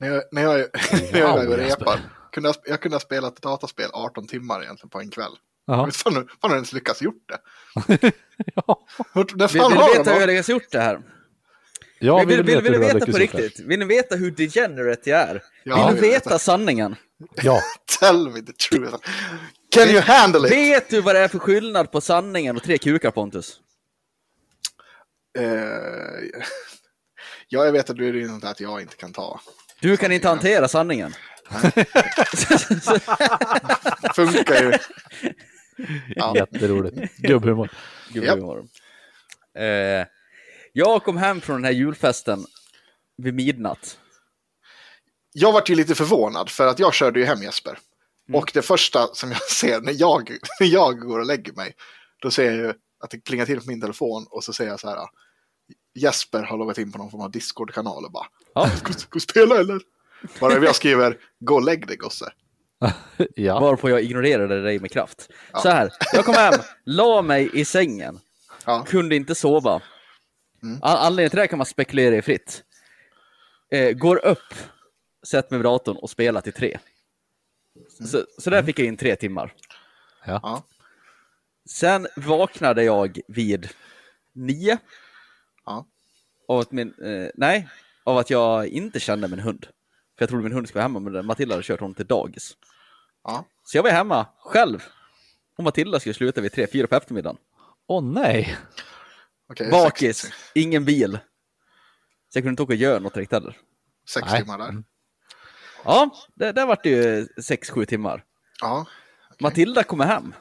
S4: När jag, när jag, när jag är iväg och
S3: Jesper.
S4: repar, kunde jag, sp- jag kunde ha spelat ett dataspel 18 timmar egentligen på en kväll. Jag
S3: Jaha.
S4: vet fan hur fan har jag ens lyckats gjort det.
S3: Ja.
S4: Vart- Där
S5: Vill,
S4: fan
S5: vill
S4: har
S5: du
S4: de
S5: veta hur
S4: dem?
S5: jag har gjort det här?
S3: Ja,
S5: vill, vill,
S3: hur
S5: vill, du
S3: du har
S5: veta på
S3: lyckats gjort det.
S5: riktigt? Vill ni veta hur degenerate jag är?
S4: Ja,
S5: vill du
S4: jag vill
S5: veta sanningen?
S3: Ja,
S4: Tell me the truth. Can you handle it?
S5: Vet du vad det är för skillnad på sanningen och tre kukar Pontus?
S4: Eh, ja, jag vet att du är inne på att jag inte kan ta.
S5: Du kan inte hantera sanningen.
S4: Funkar ju. Ja.
S3: jätteroligt. Gubbhumor.
S5: Gud,
S4: Japp.
S5: vad vi har dem. eh, jag kom hem från den här julfesten vid midnatt.
S4: Jag vart ju lite förvånad för att jag körde ju hem Jesper.
S5: Mm.
S4: Och det första som jag ser när jag, när jag går och lägger mig, då ser jag ju att det plingar till på min telefon och så ser jag så här. Jesper har loggat in på någon form av Discord-kanal och bara,
S5: Ja.
S4: ska ska vi spela eller? Bara jag skriver, gå och lägg dig gosse.
S3: Ja.
S5: Varpå jag ignorerade dig med kraft. Så här, jag kom hem, la mig i sängen,
S4: Ja. Mm.
S5: kunde inte sova. An- Anledningen till det här kan man spekulera i fritt. Eh, går upp, sätter mig vid datorn och spelar till tre. Så, så
S4: Mm.
S5: där fick jag in tre timmar.
S3: Ja.
S4: Ja,
S5: Sen vaknade jag vid nio
S4: ja.
S5: av att, min, eh, nej, av att jag inte kände min hund. För jag trodde min hund skulle vara hemma, men Matilda hade kört honom till dagis.
S4: ja.
S5: Så jag var hemma själv. Och Matilda skulle sluta vid tre, fyra på eftermiddagen.
S3: Åh nej.
S4: Okej,
S5: Bakis,
S4: sex,
S5: ingen bil. Så jag kunde inte åka och göra något riktigt heller.
S4: sex
S3: Nej.
S4: timmar
S5: Mm.
S4: där.
S5: Ja, det, där vart det ju sex, sju timmar.
S4: Ja,
S5: Matilda kommer hem.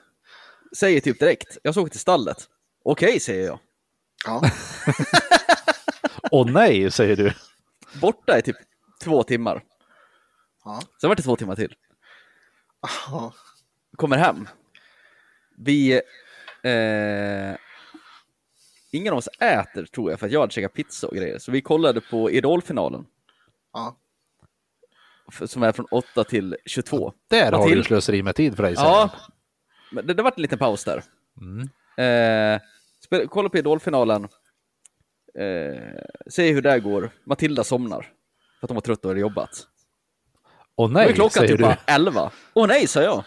S5: Säger typ direkt, jag såg till stallet. Okej, säger jag.
S4: ja.
S3: Åh nej, säger du.
S5: Borta i typ två timmar.
S4: Ja.
S5: Sen vart det två timmar till.
S4: ja.
S5: Kommer hem. Vi... Eh, ingen av oss äter, tror jag, för att jag hade käkat pizza och grejer. Så vi kollade på Idolfinalen,
S4: ja.
S5: f- som är från 8 till 22.
S3: Där har
S5: Matilda-
S3: du slöseri med tid för dig. säger
S5: Ja,
S3: jag.
S5: men det, det var en liten paus där. Eh, spel, kolla på Idolfinalen. Eh, se hur det här går. Matilda somnar. För att hon var trött och hade jobbat.
S3: Åh
S5: Nej, Då är
S3: nej,
S5: klockan
S3: säger
S5: typ
S3: du.
S5: bara 11. Åh nej, sa jag.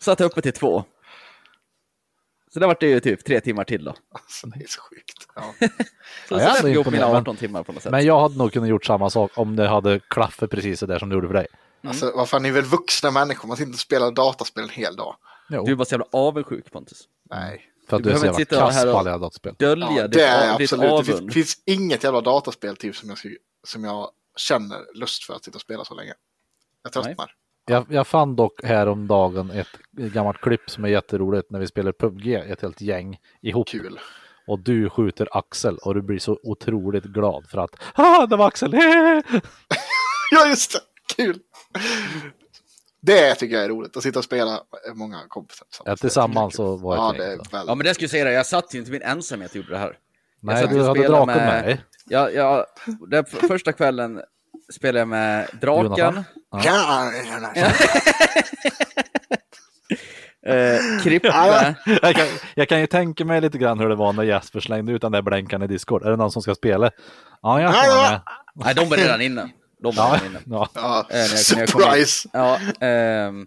S5: Satt jag uppe till två. Så där vart det ju typ tre timmar till då.
S4: Alltså det är så sjukt. Ja.
S5: Så,
S3: Ja,
S5: så
S3: jag är
S5: där fick jag ihop mina
S3: imponerad, men-
S5: 18 timmar på något sätt.
S3: Men jag hade nog kunnat gjort samma sak om det hade klaffat precis så där som det gjorde för dig.
S4: Alltså vad fan, ni är väl vuxna människor? Man sitter inte och spelar dataspel en hel dag.
S3: Jo,
S5: Du är bara så jävla avundsjuk Pontus.
S4: Nej.
S3: för att
S5: du
S3: du är så
S5: behöver inte
S3: jävla
S5: sitta
S3: kass
S5: här
S3: på
S5: och-
S3: alla jävla dataspel.
S5: Dölja
S4: Ja,
S5: ditt,
S4: det är jag
S5: ditt
S4: absolut. Det finns,
S5: avund.
S4: finns inget jävla dataspel typ som jag, skulle- som jag känner lust för att sitta och spela så länge. Jag tröttnar.
S3: Jag, jag fann dock häromdagen ett gammalt klipp som är jätteroligt när vi spelar PubG, ett helt gäng ihop.
S4: Kul.
S3: Och du skjuter Axel och du blir så otroligt glad för att ah, det var Axel! hehe."
S4: Ja, just det. Kul. Det tycker jag är roligt, att sitta och spela med många kompisar.
S3: Ja, tillsammans så var
S4: Ja,
S3: jag ett
S4: det
S3: gäng.
S4: är
S3: så.
S5: Ja
S4: väldigt...
S5: men det skulle jag säga, jag satt ju inte i min ensamhet och gjorde det här. Jag
S3: Nej,
S5: satt ju
S3: du
S5: och
S3: hade
S5: spelade
S3: draken med dig.
S5: Ja, ja, den f- första kvällen spelade jag med draken,
S3: Jonathan?
S4: Ja, ja, ja.
S5: eh, Krippe,
S3: Jag kan, jag kan ju tänka mig lite grann hur det var när Jesper slängde ut den där blänkan i Discord. Är det någon som ska spela? Ja, jag ska vara med.
S5: nej de var redan inne. De var
S3: Ja,
S5: redan inne.
S3: ja.
S4: Ja,
S5: Eh, när jag- när jag kom in.
S4: surprise!
S5: Ja, ehm,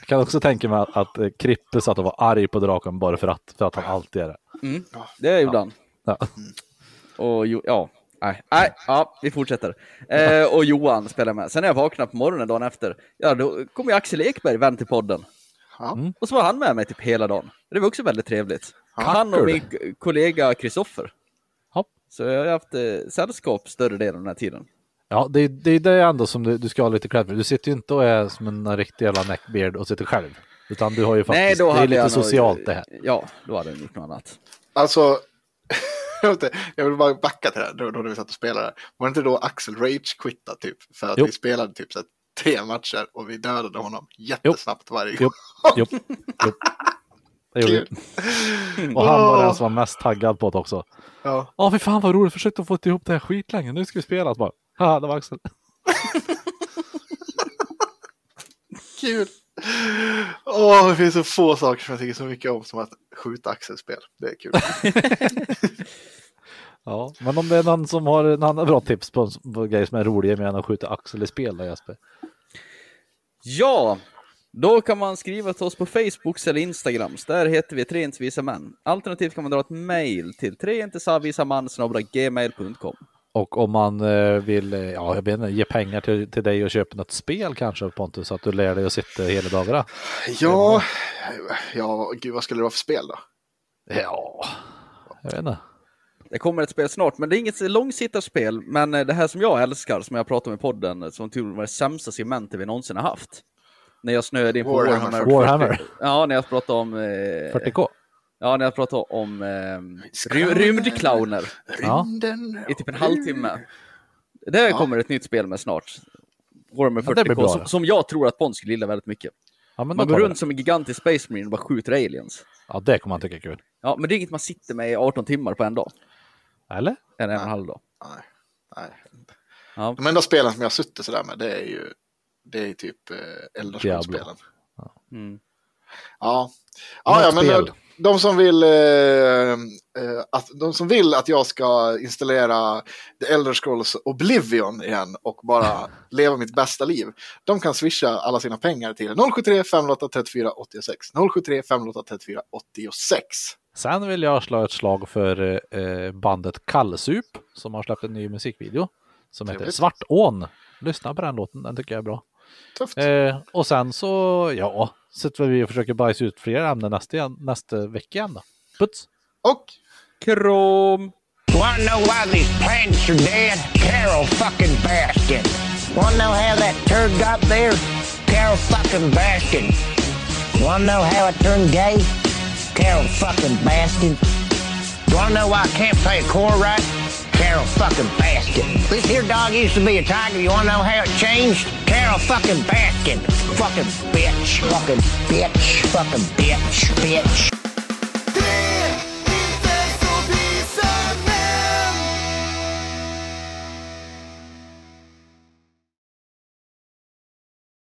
S3: Jag kan också tänka mig att, att eh, Krippe satt och var arg på draken bara för att, för att han alltid är det.
S5: det gjorde han.
S3: Ja.
S5: Och jo, ja, nej, nej, ja, vi fortsätter. Eh, och Johan spelar med. Sen när jag vaknade på morgonen dagen efter, ja då kom ju Axel Ekberg, vän till podden.
S4: Ja.
S5: Och så var han med mig typ hela dagen. Det var också väldigt trevligt. Han och
S3: Tackar du.
S5: min k- kollega Kristoffer.
S3: Ja.
S5: Så jag har haft eh, sällskap större delen av den här tiden.
S3: Ja, det, är- det är det ändå som du, du ska ha lite cred för. Du sitter ju inte och är som en riktig jävla neckbeard och sitter själv. Utan du har ju faktiskt, det är
S5: hade
S3: lite
S5: jag nog-
S3: socialt det här.
S5: Ja, då hade jag gjort något annat.
S4: Alltså, jag, vet inte, jag vill bara backa till det här, då, då när vi satt och spelade. Var det inte då Axel Rage quittade typ? För att
S3: Jo.
S4: vi spelade typ så här tre matcher och vi dödade honom jättesnabbt varje gång.
S3: Jo, jo, jo. Det gjorde vi. Och han var den som var mest taggad på det också.
S4: Ja.
S3: Ja, fy fan vad roligt. Försökte få ihop det här skitlänge. Nu ska vi spela. Så bara, Haha, det var Axel.
S4: Kul! Åh, det finns så få saker som jag tycker så mycket om som att skjuta axelspel. Det är kul.
S3: Ja, men om det är någon som har en annan bra tips på, på grejer som är roliga med än att skjuta Axel i spel då, Jesper?
S5: Ja, då kan man skriva till oss på Facebooks eller Instagrams. Där heter vi Tre inte visa män. Alternativt kan man dra ett mejl till treintesavisaman.gmail.com.
S3: Och om man eh, vill, eh, ja jag vet inte, ge pengar till, till dig och köpa något spel kanske Pontus, så att du lär dig att sitta hela dagarna.
S4: ja, ja, gud vad skulle det vara för spel då?
S3: Ja, jag vet inte.
S5: Det kommer ett spel snart, men det är inget långsittarspel. Men eh, det här som jag älskar, som jag pratade om i podden, eh, som tur var det sämsta segmentet vi någonsin har haft. När jag snöade in på
S4: Warhammer
S5: Warhammer.
S4: 40K.
S3: Warhammer
S5: Ja, när jag pratade om... Eh,
S3: 40K.
S5: Ja, när jag pratade om eh,
S4: Skrämmande.
S5: ry- rymdclowner
S3: Ja.
S4: Rymden.
S5: i typ en halvtimme. Det
S4: Ja.
S5: kommer ett nytt spel med snart. Warhammer
S3: Ja, det blir
S5: 40K,
S3: bra,
S5: som,
S3: det.
S5: som jag tror att Pons skulle gilla väldigt mycket.
S3: Ja, men då
S5: Man går
S3: tar vi
S5: runt
S3: det.
S5: som en gigantisk Space Marine och bara skjuter aliens.
S3: Ja, det kommer man tycka är kul.
S5: Ja, men det är inget man sitter med i 18 timmar på en dag.
S3: Eller?
S5: Eller en och en halv dag.
S4: Nej, nej.
S5: Ja.
S4: De enda spelen som jag har suttit sådär med det är ju det är ju typ eh, Elder Scrolls-spelen.
S5: Mm.
S4: Ja, ja, ja
S3: Något
S4: men
S3: spel.
S4: de, de, som vill, eh, eh, att, de som vill att jag ska installera The Elder Scrolls Oblivion igen och bara leva mitt bästa liv, de kan swisha alla sina pengar till 073 508 34 86. 073 508 34 86.
S3: Sen vill jag slå ett slag för eh, eh, bandet Kallsup som har släppt en ny musikvideo som heter
S4: Trevligt.
S3: Svartån. Lyssna på den låten, den tycker jag är bra.
S4: Tufft.
S3: Eh, och sen så, ja, sitter vi och försöker bajsa ut fler ämnen nästa, nästa vecka igen då. Puts!
S4: Och
S5: Krom!
S1: Wanna know why these planets are dead? Carol fucking Baskin. Wanna know how that turd got there? Carol fucking Baskin. Wanna know how I turned gay? Carol fucking Baskin. Wanna know why I can't play a chord right? Carol fucking Baskin. This here dog used to be a tiger. You wanna know how it changed? Carol fucking Baskin. Fucking bitch. Fucking bitch. Fucking bitch. Bitch.